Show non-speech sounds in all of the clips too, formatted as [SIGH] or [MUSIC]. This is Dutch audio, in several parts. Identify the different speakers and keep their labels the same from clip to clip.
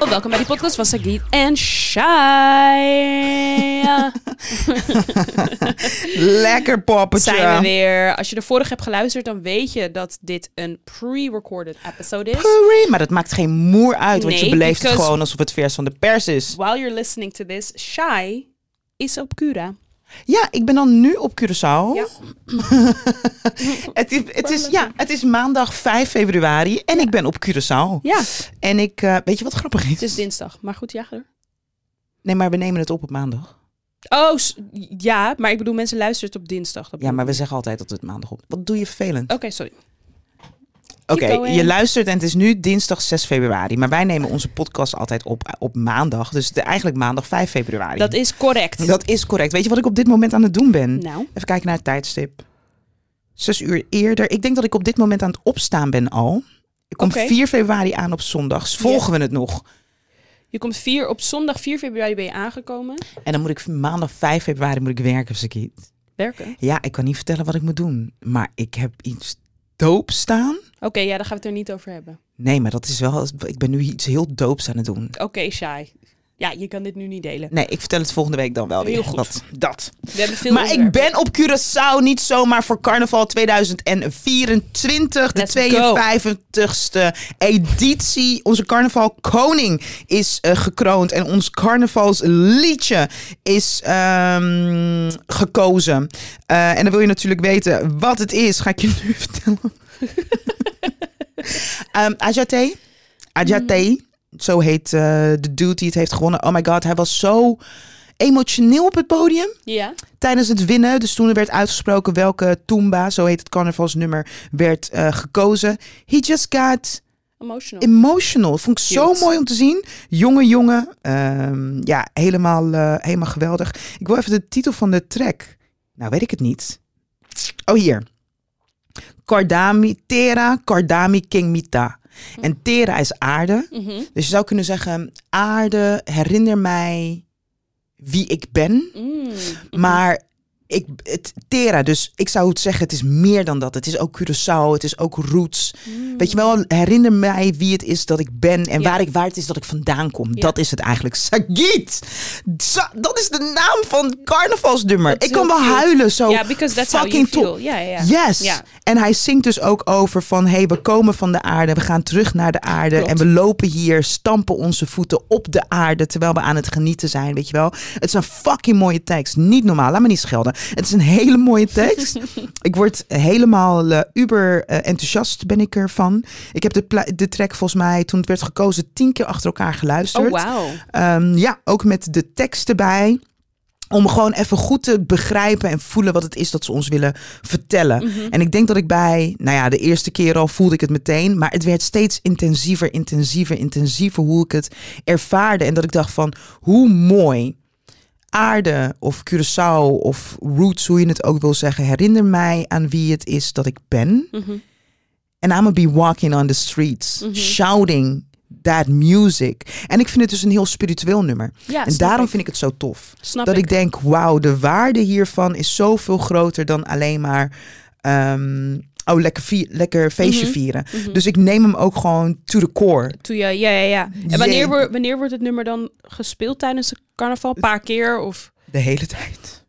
Speaker 1: Oh, Welkom bij die podcast van Sagit en
Speaker 2: [LAUGHS]
Speaker 1: Shai.
Speaker 2: Lekker poppetje.
Speaker 1: Zijn we weer. Als je de vorige hebt geluisterd, dan weet je dat dit een pre-recorded episode is.
Speaker 2: Sorry, maar dat maakt geen moer uit, want je
Speaker 1: Nee,
Speaker 2: beleeft het
Speaker 1: because-
Speaker 2: gewoon alsof het vers van de pers is.
Speaker 1: While you're listening to this, Shai is op Cura.
Speaker 2: Ja, ik ben dan nu op Curaçao.
Speaker 1: Ja.
Speaker 2: [LAUGHS] het, is, het, is, ja, het is maandag 5 februari en ik ben op Curaçao.
Speaker 1: Ja,
Speaker 2: En ik, eh, weet je wat grappig is?
Speaker 1: het is dinsdag. Maar goed, ja. ga door.
Speaker 2: Nee, maar we nemen het op op maandag.
Speaker 1: Oh, s- ja, maar ik bedoel, mensen luisteren het op dinsdag. Dat
Speaker 2: Ja, maar we
Speaker 1: bedoel
Speaker 2: zeggen altijd dat we het maandag op. Wat doe je vervelend?
Speaker 1: ik. Oké, sorry.
Speaker 2: Oké,
Speaker 1: Oh, going.
Speaker 2: je luistert en het is nu dinsdag 6 februari. Maar wij nemen onze podcast altijd op eh, op maandag. Dus de, eigenlijk maandag 5 februari.
Speaker 1: Dat is correct.
Speaker 2: Dat is correct. Weet je wat ik op dit moment aan het doen ben?
Speaker 1: Nou,
Speaker 2: Even kijken naar het tijdstip. Zes uur eerder. Ik denk dat ik op dit moment aan het opstaan ben al. Ik kom
Speaker 1: Oké.
Speaker 2: 4 februari aan op zondags. Volgen we het nog?
Speaker 1: je komt vier, op zondag 4 februari ben je aangekomen.
Speaker 2: En dan moet ik maandag 5 februari moet ik werken, Sakiet.
Speaker 1: Werken.
Speaker 2: Ja, ik kan niet vertellen wat ik moet doen. Maar ik heb iets doop staan.
Speaker 1: Oké, ja, daar gaan we het er niet over hebben.
Speaker 2: Nee, maar dat is wel... Ik ben nu iets heel doops aan het doen.
Speaker 1: Oké, Shai. Ja, je kan dit nu niet delen.
Speaker 2: Nee, ik vertel het volgende week dan wel weer.
Speaker 1: Heel goed.
Speaker 2: Dat. dat.
Speaker 1: We hebben veel
Speaker 2: Maar ik
Speaker 1: onderwerpen.
Speaker 2: ben op Curaçao niet zomaar voor carnaval 2024. De
Speaker 1: Let's
Speaker 2: 52ste editie. Onze carnaval koning is eh, gekroond. En ons carnavalsliedje is ehm, gekozen. Eh, en dan wil je natuurlijk weten wat het is. Ga ik je nu [LAUGHS] vertellen.
Speaker 1: [LAUGHS]
Speaker 2: Ehm Ajate. Ajate.
Speaker 1: Mm.
Speaker 2: Zo heet eh, de dude die het heeft gewonnen. Oh my god, hij was zo emotioneel op het podium
Speaker 1: Ja.
Speaker 2: tijdens het winnen. Dus toen er werd uitgesproken welke Toomba, zo heet het carnavalsnummer, werd eh, gekozen. He just got
Speaker 1: Emotional.
Speaker 2: emotional. Vond ik zo
Speaker 1: Cute.
Speaker 2: mooi om te zien. Jonge jongen. Ehm, ja, helemaal, eh, helemaal geweldig. Ik wil even de titel van de track. Nou, weet ik het niet. Oh, hier. Kardami, Tera, Kardami, King Mita. En Tera is aarde.
Speaker 1: Mhm.
Speaker 2: Dus je zou kunnen zeggen, aarde, herinner mij wie ik ben.
Speaker 1: Mm.
Speaker 2: Maar ik, het, Tera, dus ik zou het zeggen, het is meer dan dat. Het is ook Curaçao, het is ook roots. Weet je wel, herinner mij wie het is dat ik ben en
Speaker 1: Mm. Ja.
Speaker 2: waar, ik, waar het is dat ik vandaan kom.
Speaker 1: Ja.
Speaker 2: Dat is het eigenlijk. Sagit! Sa- dat is de naam van het carnavalsnummer.
Speaker 1: Dat is
Speaker 2: Ik kan
Speaker 1: heel
Speaker 2: wel
Speaker 1: cute.
Speaker 2: huilen zo.
Speaker 1: Ja, because that's how you
Speaker 2: fucking top.
Speaker 1: feel. Ja, ja, ja.
Speaker 2: Yes.
Speaker 1: Ja.
Speaker 2: En hij zingt dus ook over van, hey, we komen van de aarde, we gaan terug naar de aarde
Speaker 1: Klopt.
Speaker 2: en we lopen hier, stampen onze voeten op de aarde terwijl we aan het genieten zijn, weet je wel. Het is een fucking mooie tekst, niet normaal, laat me niet schelden. Het is een hele mooie
Speaker 1: [LAUGHS]
Speaker 2: tekst. ik word helemaal eh, uber eh, enthousiast ben ik ervan. Ik heb de, pla- de track volgens mij, toen het werd gekozen, tien keer achter elkaar geluisterd.
Speaker 1: Oh, wauw.
Speaker 2: Ehm, ja, ook met de tekst erbij. Om gewoon even goed te begrijpen en voelen wat het is dat ze ons willen vertellen. En ik denk dat ik bij, nou ja, de eerste keer al voelde ik het meteen. Maar het werd steeds intensiever, intensiever, intensiever hoe ik het ervaarde. En dat ik dacht van, hoe mooi aarde of Curaçao of roots, hoe je het ook wil zeggen. Herinner mij aan wie het is dat ik ben.
Speaker 1: Mm-hmm.
Speaker 2: And I'm gonna be walking on the streets, shouting that music. En ik vind het dus een heel spiritueel nummer.
Speaker 1: Ja,
Speaker 2: en
Speaker 1: snap
Speaker 2: daarom
Speaker 1: ik.
Speaker 2: vind ik het zo tof.
Speaker 1: Snap
Speaker 2: dat ik.
Speaker 1: ik.
Speaker 2: denk, wauw, de waarde hiervan is zoveel groter dan alleen maar... ehm, oh, lekker, vie- lekker feestje
Speaker 1: Mhm.
Speaker 2: vieren. Dus ik neem hem ook gewoon to the core.
Speaker 1: Toen je, ja, ja, ja. En wanneer,
Speaker 2: Jee.
Speaker 1: wordt- wanneer wordt het nummer dan gespeeld tijdens de carnaval? Een paar keer of...
Speaker 2: De hele tijd.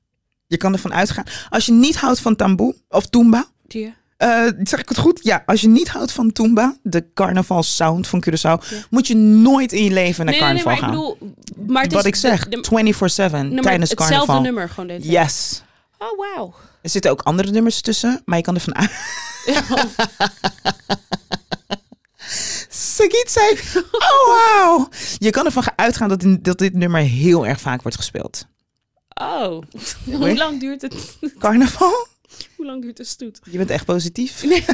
Speaker 2: Je kan ervan uitgaan. Als je niet houdt van tamboe of toomba...
Speaker 1: Ja.
Speaker 2: Eh, zeg ik het goed? Ja, als je niet houdt van Toomba, de carnaval sound van Curaçao, moet je nooit in je leven naar
Speaker 1: Nee, nee, nee,
Speaker 2: carnaval
Speaker 1: maar ik
Speaker 2: gaan.
Speaker 1: bedoel... Maar het is
Speaker 2: Wat ik
Speaker 1: de-
Speaker 2: zeg,
Speaker 1: de-
Speaker 2: 24-7
Speaker 1: nummer-
Speaker 2: tijdens
Speaker 1: hetzelfde
Speaker 2: carnaval.
Speaker 1: nummer gewoon dit.
Speaker 2: Yes.
Speaker 1: Oh, wauw.
Speaker 2: Er zitten ook andere nummers tussen, maar je kan er van uit. Sagiet zei, oh wow. Je kan ervan uitgaan dat, dat dit nummer heel erg vaak wordt gespeeld.
Speaker 1: Oh.
Speaker 2: hoor.
Speaker 1: [LAUGHS] Hoe lang duurt het? [LAUGHS]
Speaker 2: Carnaval?
Speaker 1: Hoe lang duurt de stoet?
Speaker 2: Je bent echt positief.
Speaker 1: Nee.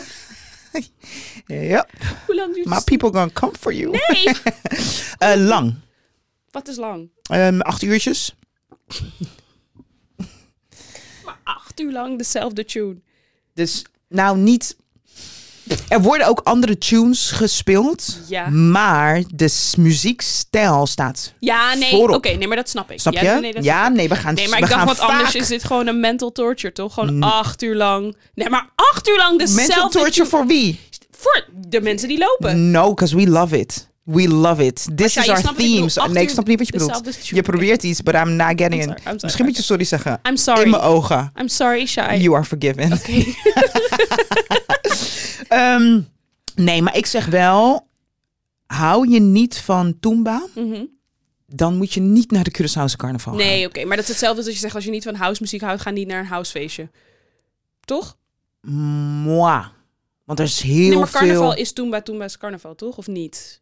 Speaker 2: [LAUGHS] Ja,
Speaker 1: Hoe lang duurt de
Speaker 2: maar
Speaker 1: stoet?
Speaker 2: people gonna come for you.
Speaker 1: Nee.
Speaker 2: Eh, lang.
Speaker 1: Wat is lang?
Speaker 2: Ehm, acht uurtjes.
Speaker 1: Maar acht uur lang dezelfde tune.
Speaker 2: Dus nou niet. Er worden ook andere tunes gespeeld.
Speaker 1: Ja.
Speaker 2: Maar de s- muziekstijl staat.
Speaker 1: Ja, nee. Oké,
Speaker 2: Voorop.
Speaker 1: nee, maar dat snap ik.
Speaker 2: Snap
Speaker 1: ja,
Speaker 2: je?
Speaker 1: Nee, nee, dat
Speaker 2: ja, nee, we gaan.
Speaker 1: Nee, maar
Speaker 2: we
Speaker 1: ik dacht
Speaker 2: gaan
Speaker 1: wat
Speaker 2: vaak Mm.
Speaker 1: anders is dit gewoon een mental torture, toch? Gewoon acht uur lang. Nee, maar acht uur lang dezelfde...
Speaker 2: Mental torture
Speaker 1: tune-
Speaker 2: Mm. voor wie?
Speaker 1: Voor de mensen die lopen.
Speaker 2: No, because we love it. We love it. This
Speaker 1: ja,
Speaker 2: is
Speaker 1: je
Speaker 2: our
Speaker 1: snapt wat ik bedoel.
Speaker 2: themes.
Speaker 1: Acht
Speaker 2: nee, ik
Speaker 1: uur
Speaker 2: snap niet wat je bedoelt.
Speaker 1: dezelfde tune.
Speaker 2: Je probeert iets, but I'm not getting
Speaker 1: I'm
Speaker 2: it.
Speaker 1: sorry, I'm sorry.
Speaker 2: Misschien moet je sorry zeggen.
Speaker 1: I'm sorry.
Speaker 2: In mijn ogen.
Speaker 1: I'm sorry, Shai.
Speaker 2: You are forgiven. [LAUGHS]
Speaker 1: Oké. [LAUGHS]
Speaker 2: Ehm, nee, maar ik zeg wel, hou je niet van Toomba,
Speaker 1: Mhm.
Speaker 2: dan moet je niet naar de Curaçaose carnaval gaan.
Speaker 1: Nee, oké. Maar dat is hetzelfde als dat je zegt, als je niet van housemuziek houdt, ga niet naar een housefeestje. Toch?
Speaker 2: Moi. Want er is heel
Speaker 1: nee, maar carnaval
Speaker 2: veel...
Speaker 1: is Toomba, Toomba is carnaval, toch? Of niet?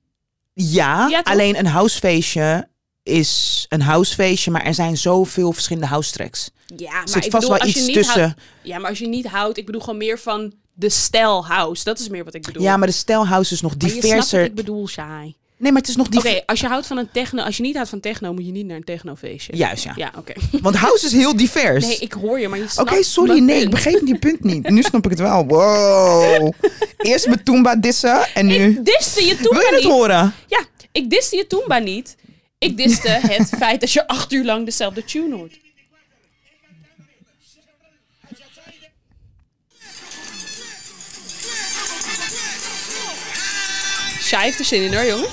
Speaker 2: Ja,
Speaker 1: Ja, toch?
Speaker 2: alleen een housefeestje is een housefeestje, maar er zijn zoveel verschillende house tracks.
Speaker 1: Ja, maar
Speaker 2: Er zit
Speaker 1: ik
Speaker 2: vast
Speaker 1: bedoel,
Speaker 2: wel
Speaker 1: als je
Speaker 2: iets
Speaker 1: niet
Speaker 2: tussen.
Speaker 1: houdt- ja, maar als je niet houdt, ik bedoel gewoon meer van de stijl house. Dat is meer wat ik bedoel.
Speaker 2: Ja, maar de stijl house is nog
Speaker 1: Maar je snapt
Speaker 2: diverser.
Speaker 1: wat ik bedoel, Shai.
Speaker 2: Nee, maar het is nog
Speaker 1: Oké,
Speaker 2: diverser.
Speaker 1: als je houdt van een techno, als je niet houdt van techno, moet je niet naar een technofeestje.
Speaker 2: Juist, ja.
Speaker 1: Ja, oké.
Speaker 2: Want house is heel divers.
Speaker 1: Nee, ik hoor je, maar je
Speaker 2: Dus- Oké,
Speaker 1: snapt
Speaker 2: sorry,
Speaker 1: mijn
Speaker 2: nee, ik
Speaker 1: punt.
Speaker 2: begreep die punt niet. Nu snap ik het wel. Wow.
Speaker 1: [LAUGHS]
Speaker 2: Eerst met Toomba dissen en nu...
Speaker 1: Ik diste je
Speaker 2: Wil
Speaker 1: Toomba
Speaker 2: je het
Speaker 1: niet.
Speaker 2: horen?
Speaker 1: Ja, ik diste je Toomba niet. Ik
Speaker 2: [LAUGHS]
Speaker 1: diste het feit dat je acht uur lang dezelfde tune hoort. Shai heeft er zin in hoor, jongens.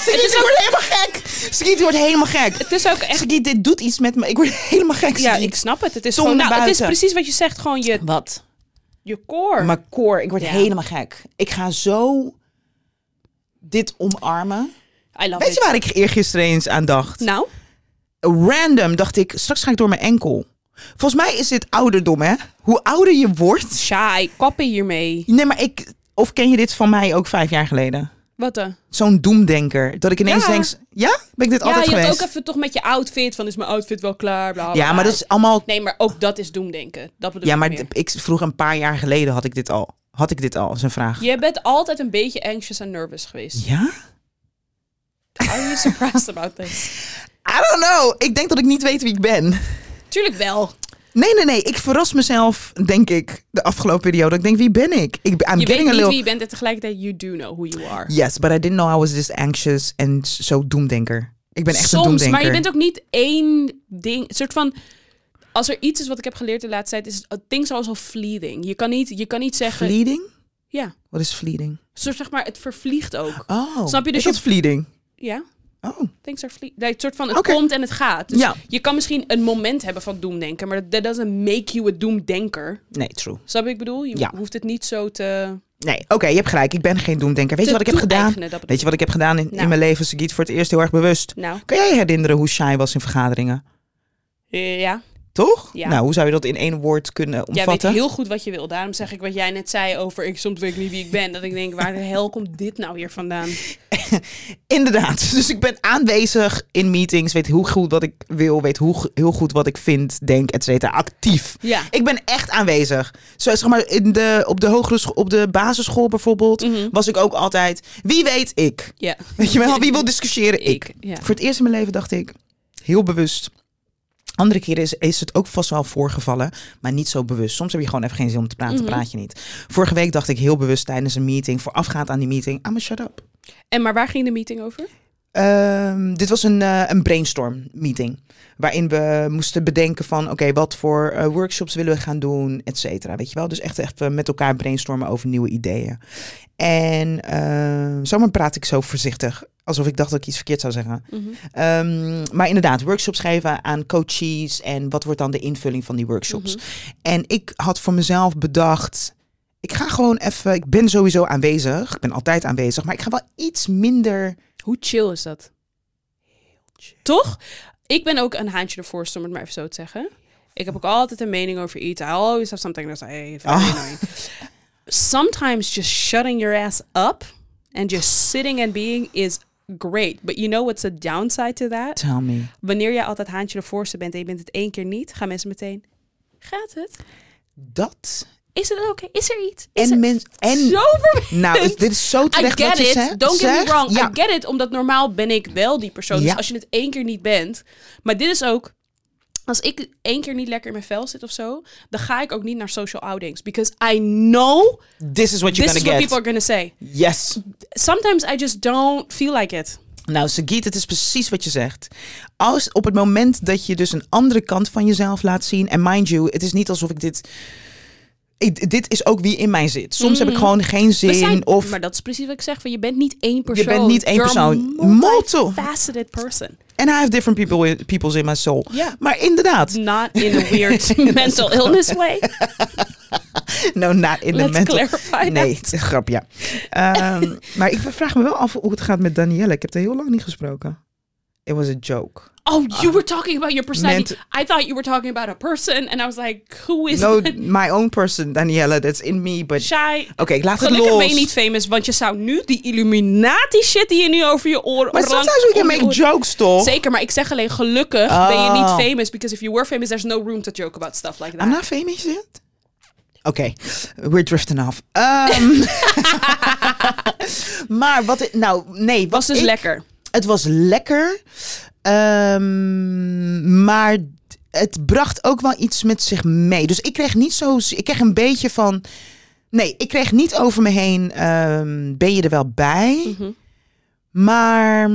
Speaker 2: Schiet, ik word helemaal gek. Schiet, ik word helemaal gek.
Speaker 1: Het is ook echt...
Speaker 2: Schiet, dit doet iets met me. Ik word helemaal gek,
Speaker 1: Ja,
Speaker 2: Schiet.
Speaker 1: ik snap het. Het is,
Speaker 2: Tong
Speaker 1: gewoon, nou,
Speaker 2: naar
Speaker 1: het is
Speaker 2: buiten.
Speaker 1: precies wat je zegt. Gewoon je,
Speaker 2: Wat?
Speaker 1: je core.
Speaker 2: Mijn koor, ik word
Speaker 1: Ja.
Speaker 2: helemaal gek. Ik ga zo dit omarmen.
Speaker 1: I love
Speaker 2: Weet
Speaker 1: it.
Speaker 2: je waar ik eergisteren eens aan dacht?
Speaker 1: Nou,
Speaker 2: Random dacht ik, straks ga ik door mijn enkel. Volgens mij is dit ouderdom, hè? Hoe ouder je wordt...
Speaker 1: Shai, kappen hiermee.
Speaker 2: Nee, maar ik... Of ken je dit van mij ook vijf jaar geleden?
Speaker 1: Wat eh? dan?
Speaker 2: Zo'n doemdenker. Dat ik ineens
Speaker 1: Ja.
Speaker 2: denk... Ja? Ben ik dit
Speaker 1: Ja,
Speaker 2: altijd
Speaker 1: je
Speaker 2: geweest?
Speaker 1: had ook even toch met je outfit. Van is mijn outfit wel klaar? Bla, bla,
Speaker 2: ja, maar
Speaker 1: bla.
Speaker 2: dat is allemaal
Speaker 1: Nee, maar ook dat is doemdenken. Dat bedoel
Speaker 2: Ja,
Speaker 1: ik
Speaker 2: maar
Speaker 1: meer.
Speaker 2: d- ik vroeg een paar jaar geleden had ik dit al. Had ik dit al, is een vraag.
Speaker 1: Je bent altijd een beetje anxious en nervous geweest.
Speaker 2: Ja?
Speaker 1: Are you surprised about this?
Speaker 2: I don't know. Ik denk dat ik niet weet wie ik ben.
Speaker 1: Tuurlijk wel.
Speaker 2: Nee, nee, nee. Ik verras mezelf, denk ik, de afgelopen periode. Ik denk, wie ben ik? ik ben- I'm
Speaker 1: Je weet
Speaker 2: getting a
Speaker 1: niet
Speaker 2: little...
Speaker 1: wie je bent en tegelijkertijd you do know who you are.
Speaker 2: Yes, but I didn't know I was this anxious en zo doemdenker. Ik ben echt een
Speaker 1: Soms,
Speaker 2: doemdenker.
Speaker 1: maar je bent ook niet één ding. Een soort van... Als er iets is wat ik heb geleerd de laatste tijd, is het things are also fleeting. Je kan niet, je kan niet zeggen...
Speaker 2: Fleeting?
Speaker 1: ja.
Speaker 2: Wat is fleeting?
Speaker 1: Soort, zeg maar, het vervliegt ook.
Speaker 2: Oh.
Speaker 1: Snap je? Dus
Speaker 2: is dat
Speaker 1: je-
Speaker 2: fleeting?
Speaker 1: Ja.
Speaker 2: Oh.
Speaker 1: Things are fleeting. Nee, Het soort van, het
Speaker 2: Oké.
Speaker 1: komt en het gaat. Dus
Speaker 2: Ja.
Speaker 1: je kan misschien een moment hebben van doemdenken, maar that doesn't make you a doemdenker.
Speaker 2: Nee, true.
Speaker 1: Snap je wat ik bedoel? Je
Speaker 2: Ja.
Speaker 1: hoeft het niet zo te...
Speaker 2: Nee, oké, je hebt gelijk. Ik ben geen doemdenker. Weet
Speaker 1: Te
Speaker 2: je wat ik heb gedaan?
Speaker 1: toe-eigenen, dat bedoel
Speaker 2: Weet je wat ik heb gedaan in,
Speaker 1: Nou.
Speaker 2: in mijn leven, Sagiet? Voor het eerst heel erg bewust.
Speaker 1: Nou,
Speaker 2: Kan jij je herinneren hoe shy was in vergaderingen?
Speaker 1: eh, ja.
Speaker 2: Toch?
Speaker 1: Ja.
Speaker 2: Nou, hoe zou je dat in één woord kunnen
Speaker 1: Jij weet
Speaker 2: omvatten?
Speaker 1: heel goed wat je wil. Daarom zeg ik wat jij net zei over ik soms weet ik niet wie ik ben. Dat ik denk, waar de hel komt dit nou weer vandaan?
Speaker 2: Inderdaad. [LAUGHS] Dus ik ben aanwezig in meetings, weet hoe goed wat ik wil, weet hoe, g- heel goed wat ik vind, denk, et cetera. Actief.
Speaker 1: Ja.
Speaker 2: [LAUGHS] Ik ben echt aanwezig. Zo zeg maar in de, op, de hogere scho- op de basisschool bijvoorbeeld was ik ook altijd, wie weet ik?
Speaker 1: Ja.
Speaker 2: Weet je wel, wie wil discussiëren? Ik.
Speaker 1: [LAUGHS] Ik, ja.
Speaker 2: Voor het eerst in mijn leven dacht ik, heel bewust. Andere keren is, is het ook vast wel voorgevallen, maar niet zo bewust. Soms heb je gewoon even geen zin om te praten, praat je niet. Voorige week dacht ik heel bewust tijdens een meeting, voorafgaand aan die meeting, I'm a shut up.
Speaker 1: En maar waar ging de meeting over?
Speaker 2: Ehm, dit was een, eh, een brainstorm meeting. Waarin we moesten bedenken van oké, wat voor eh, workshops willen we gaan doen, et cetera. Weet je wel? Dus echt even met elkaar brainstormen over nieuwe ideeën. En ehm, zomaar praat ik zo voorzichtig. Alsof ik dacht dat ik iets verkeerd zou zeggen. Ehm, maar inderdaad, workshops geven aan coaches. En wat wordt dan de invulling van die workshops?
Speaker 1: Mhm.
Speaker 2: En ik had voor mezelf bedacht. Ik ga gewoon even. Ik ben sowieso aanwezig. Ik ben altijd aanwezig. Maar ik ga wel iets minder.
Speaker 1: Hoe chill is dat? Toch? Ik ben ook een haantje ervoor, om het maar even zo te zeggen. Ik heb ook altijd een mening over iets. I always have something to say. Very
Speaker 2: Ah.
Speaker 1: annoying. Sometimes just shutting your ass up and just sitting and being is great. But you know what's the downside to that?
Speaker 2: Tell me.
Speaker 1: Wanneer jij altijd haantje de voorste bent en je bent het één keer niet, gaan mensen meteen. Gaat het?
Speaker 2: Dat.
Speaker 1: Is het oké? Is er iets? Is
Speaker 2: En
Speaker 1: er...
Speaker 2: mensen. En.
Speaker 1: Zo vervelend.
Speaker 2: Nou, het- dit is zo
Speaker 1: I
Speaker 2: terecht
Speaker 1: get
Speaker 2: wat je
Speaker 1: it.
Speaker 2: zegt.
Speaker 1: Don't get me
Speaker 2: zegt.
Speaker 1: wrong.
Speaker 2: Ja.
Speaker 1: I get it. Omdat normaal ben ik wel die persoon.
Speaker 2: Ja.
Speaker 1: Dus als je het één keer niet bent. Maar dit is ook. Als ik één keer niet lekker in mijn vel zit of zo, dan ga ik ook niet naar social outings. Because I know
Speaker 2: This
Speaker 1: this is
Speaker 2: is what you're gonna
Speaker 1: what
Speaker 2: get.
Speaker 1: people are gonna say.
Speaker 2: Yes.
Speaker 1: Sometimes I just don't feel like it.
Speaker 2: Nou, Sagiet, het is precies wat je zegt. Als op het moment dat je dus een andere kant van jezelf laat zien. En mind you, het is niet alsof ik dit ik- dit is ook wie in mij zit. Soms heb ik
Speaker 1: Mm.
Speaker 2: gewoon geen
Speaker 1: We
Speaker 2: zin
Speaker 1: zijn-
Speaker 2: of
Speaker 1: Maar dat is precies wat ik zeg. Van, je bent niet één persoon.
Speaker 2: bent niet één
Speaker 1: You're a
Speaker 2: persoon. Multiple.
Speaker 1: Multifaceted person.
Speaker 2: And I have different people in, peoples in my soul.
Speaker 1: Ja.
Speaker 2: Maar inderdaad.
Speaker 1: Not in a
Speaker 2: [LAUGHS]
Speaker 1: weird mental illness way.
Speaker 2: No, not nou, in the
Speaker 1: Let's
Speaker 2: mental.
Speaker 1: clarify
Speaker 2: Nee, [LAUGHS] het is een grap, ja.
Speaker 1: [LAUGHS]
Speaker 2: Ehm, maar ik vraag me wel af hoe het gaat met Danielle. Ik heb haar heel lang niet gesproken. It was a joke.
Speaker 1: Oh, you
Speaker 2: Um,
Speaker 1: were talking about your personality. I thought you were talking about a person. And I was like, who is
Speaker 2: No, my own person, Danielle. That's in me, but...
Speaker 1: shy?
Speaker 2: Oké, ik laat het
Speaker 1: Gelukkig
Speaker 2: los.
Speaker 1: ben je niet famous, want je zou nu die Illuminati shit die je nu over je oren
Speaker 2: maar
Speaker 1: rankt-
Speaker 2: sometimes we can
Speaker 1: om je
Speaker 2: make
Speaker 1: oren-
Speaker 2: jokes, toch?
Speaker 1: Zeker, maar ik zeg alleen gelukkig ben je
Speaker 2: Oh.
Speaker 1: niet famous. Because if you were famous, there's no room to joke about stuff like that.
Speaker 2: I'm not famous yet. Oké, we're drifting
Speaker 1: [LAUGHS]
Speaker 2: off. Ehm, [LAUGHS] maar wat... ik- Nou, nee. Wat
Speaker 1: was dus
Speaker 2: ik-
Speaker 1: lekker.
Speaker 2: Het was lekker. Ehm, maar d- het bracht ook wel iets met zich mee. Dus ik kreeg niet zo. Ik kreeg een beetje van. Nee, ik kreeg niet over me heen. ehm, ben je er wel bij?
Speaker 1: Mhm.
Speaker 2: Maar.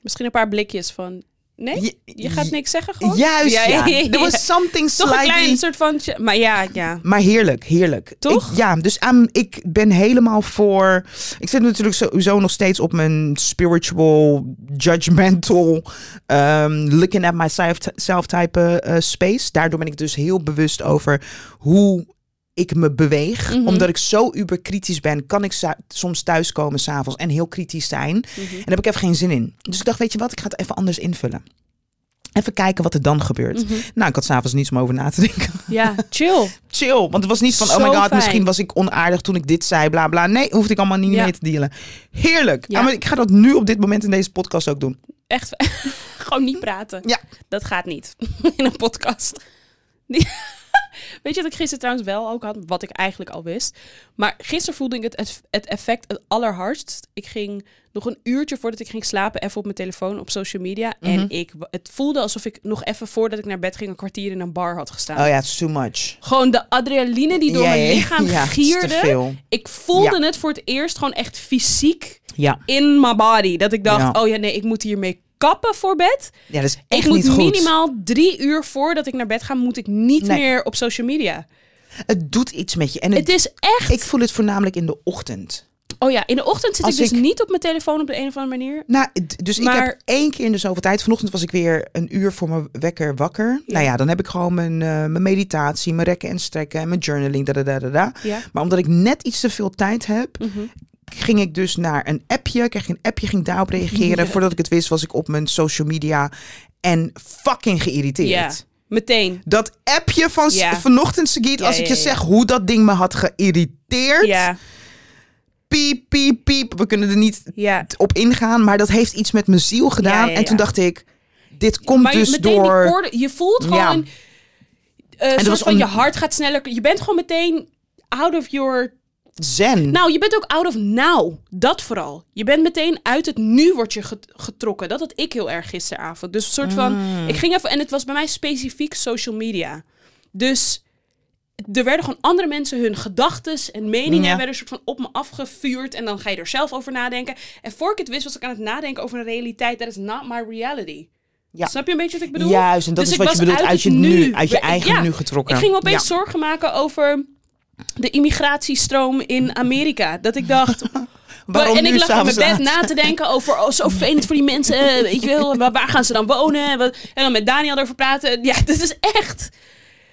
Speaker 1: Misschien een paar blikjes van... Nee?
Speaker 2: Je-
Speaker 1: Je gaat niks zeggen gewoon?
Speaker 2: Juist, ja. There
Speaker 1: ja.
Speaker 2: was something
Speaker 1: Toch een klein
Speaker 2: slightly...
Speaker 1: soort van... tje- Maar ja, ja.
Speaker 2: Maar heerlijk, heerlijk.
Speaker 1: Toch?
Speaker 2: Ik- ja, dus aan ik ben helemaal voor... Ik zit natuurlijk sowieso nog steeds op mijn spiritual, judgmental, ehm, looking at myself self type eh, space. Daardoor ben ik dus heel bewust over hoe ik me beweeg.
Speaker 1: Mhm.
Speaker 2: Omdat ik zo uberkritisch ben, kan ik sa- soms thuiskomen s'avonds en heel kritisch zijn.
Speaker 1: Mhm.
Speaker 2: En daar heb ik even geen zin in. Dus ik dacht, weet je wat, ik ga het even anders invullen. Even kijken wat er dan gebeurt.
Speaker 1: Mhm.
Speaker 2: Nou, ik had s'avonds niets om over na te denken [LAUGHS]
Speaker 1: Ja, chill.
Speaker 2: chill. Want het was niet van, oh my
Speaker 1: Zo
Speaker 2: god,
Speaker 1: fijn.
Speaker 2: misschien was ik onaardig toen ik dit zei, bla bla. Nee, hoefde ik allemaal niet
Speaker 1: Ja.
Speaker 2: mee te dealen. Heerlijk.
Speaker 1: Ja.
Speaker 2: Ah, maar ik ga dat nu op dit moment in deze podcast ook doen.
Speaker 1: Echt. [LAUGHS] Gewoon niet praten.
Speaker 2: Ja.
Speaker 1: Dat gaat niet. [LAUGHS] In een podcast. Die- [LAUGHS] Weet je wat ik gisteren trouwens wel ook had? Wat ik eigenlijk al wist. Maar gisteren voelde ik het, het, het effect het allerhardst. Ik ging nog een uurtje voordat ik ging slapen even op mijn telefoon op social media. En
Speaker 2: Mhm.
Speaker 1: ik, het voelde alsof ik nog even voordat ik naar bed ging een kwartier in een bar had gestaan.
Speaker 2: Oh ja, it's too much.
Speaker 1: Gewoon de adrenaline die Nou. door
Speaker 2: Ja, ja,
Speaker 1: mijn
Speaker 2: ja.
Speaker 1: lichaam
Speaker 2: Ja, het is te veel.
Speaker 1: gierde. Ik voelde het voor het eerst gewoon echt fysiek
Speaker 2: Ja.
Speaker 1: in my body. Dat ik dacht,
Speaker 2: Ja.
Speaker 1: oh ja, nee, ik moet hiermee kappen voor bed.
Speaker 2: Ja, dat is echt
Speaker 1: ik moet
Speaker 2: niet goed.
Speaker 1: minimaal drie uur voordat ik naar bed ga, moet ik niet
Speaker 2: Nee.
Speaker 1: meer op social media.
Speaker 2: Het doet iets met je. En het,
Speaker 1: Het is echt...
Speaker 2: ik voel het voornamelijk in de ochtend.
Speaker 1: oh ja, in de ochtend zit ik
Speaker 2: Als
Speaker 1: dus
Speaker 2: ik-
Speaker 1: niet op mijn telefoon op de een of andere manier.
Speaker 2: Nou, d- dus ik
Speaker 1: Maar-
Speaker 2: heb één keer in de zoveel tijd. Vanochtend was ik weer een uur voor mijn wekker wakker. Nou ja, dan heb ik gewoon mijn, eh, mijn meditatie, mijn rekken en strekken en mijn journaling. Da, da, da, da, da.
Speaker 1: Ja. Mhm.
Speaker 2: Maar omdat ik net iets te veel tijd heb, ging ik dus naar een appje. Kreeg een appje, ging daarop reageren. Voordat ik het wist, was ik op mijn social media en fucking geïrriteerd.
Speaker 1: Ja, meteen.
Speaker 2: Dat appje van s-
Speaker 1: Ja.
Speaker 2: vanochtend, Sagiet,
Speaker 1: Ja,
Speaker 2: als ik
Speaker 1: ja,
Speaker 2: je
Speaker 1: ja.
Speaker 2: zeg hoe dat ding me had geïrriteerd.
Speaker 1: Ja,
Speaker 2: Piep, piep, piep. We kunnen er niet
Speaker 1: ja.
Speaker 2: op ingaan, maar dat heeft iets met mijn ziel gedaan.
Speaker 1: Ja, ja,
Speaker 2: En toen
Speaker 1: ja.
Speaker 2: dacht ik, dit komt
Speaker 1: Maar je-
Speaker 2: dus
Speaker 1: meteen
Speaker 2: door.
Speaker 1: die orde, je voelt
Speaker 2: Ja.
Speaker 1: gewoon... eh soort
Speaker 2: was
Speaker 1: van
Speaker 2: on-
Speaker 1: je hart gaat sneller. Je bent gewoon meteen out of your
Speaker 2: Zen.
Speaker 1: Nou, je bent ook out of now. Dat vooral. Je bent meteen uit het nu wordt je get- getrokken. Dat had ik heel erg gisteravond. Dus een soort van... Ik ging even... En het was bij mij specifiek social media. Dus er werden gewoon andere mensen hun gedachten en meningen...
Speaker 2: Ja.
Speaker 1: werden soort van op me afgevuurd. En dan ga je er zelf over nadenken. En voor ik het wist was ik aan het nadenken over een realiteit. That is not my reality.
Speaker 2: Ja.
Speaker 1: Snap je een beetje wat ik bedoel?
Speaker 2: Juist, en dat
Speaker 1: Dus
Speaker 2: is
Speaker 1: ik
Speaker 2: wat je
Speaker 1: was
Speaker 2: bedoelt
Speaker 1: het
Speaker 2: uit, je nu,
Speaker 1: nu.
Speaker 2: uit je
Speaker 1: Ik-
Speaker 2: eigen
Speaker 1: ja,
Speaker 2: nu getrokken.
Speaker 1: Ik ging me opeens
Speaker 2: Ja.
Speaker 1: zorgen maken over de immigratiestroom in Amerika. Dat ik dacht.
Speaker 2: [LAUGHS] Waarom
Speaker 1: en
Speaker 2: nu
Speaker 1: ik lag in mijn
Speaker 2: s'avonds
Speaker 1: bed
Speaker 2: laat?
Speaker 1: na te denken over oh, zo vervelend voor die mensen. eh, Weet je wel, waar, waar gaan ze dan wonen? En wat- En dan met Daniel erover praten. Ja, dit is echt.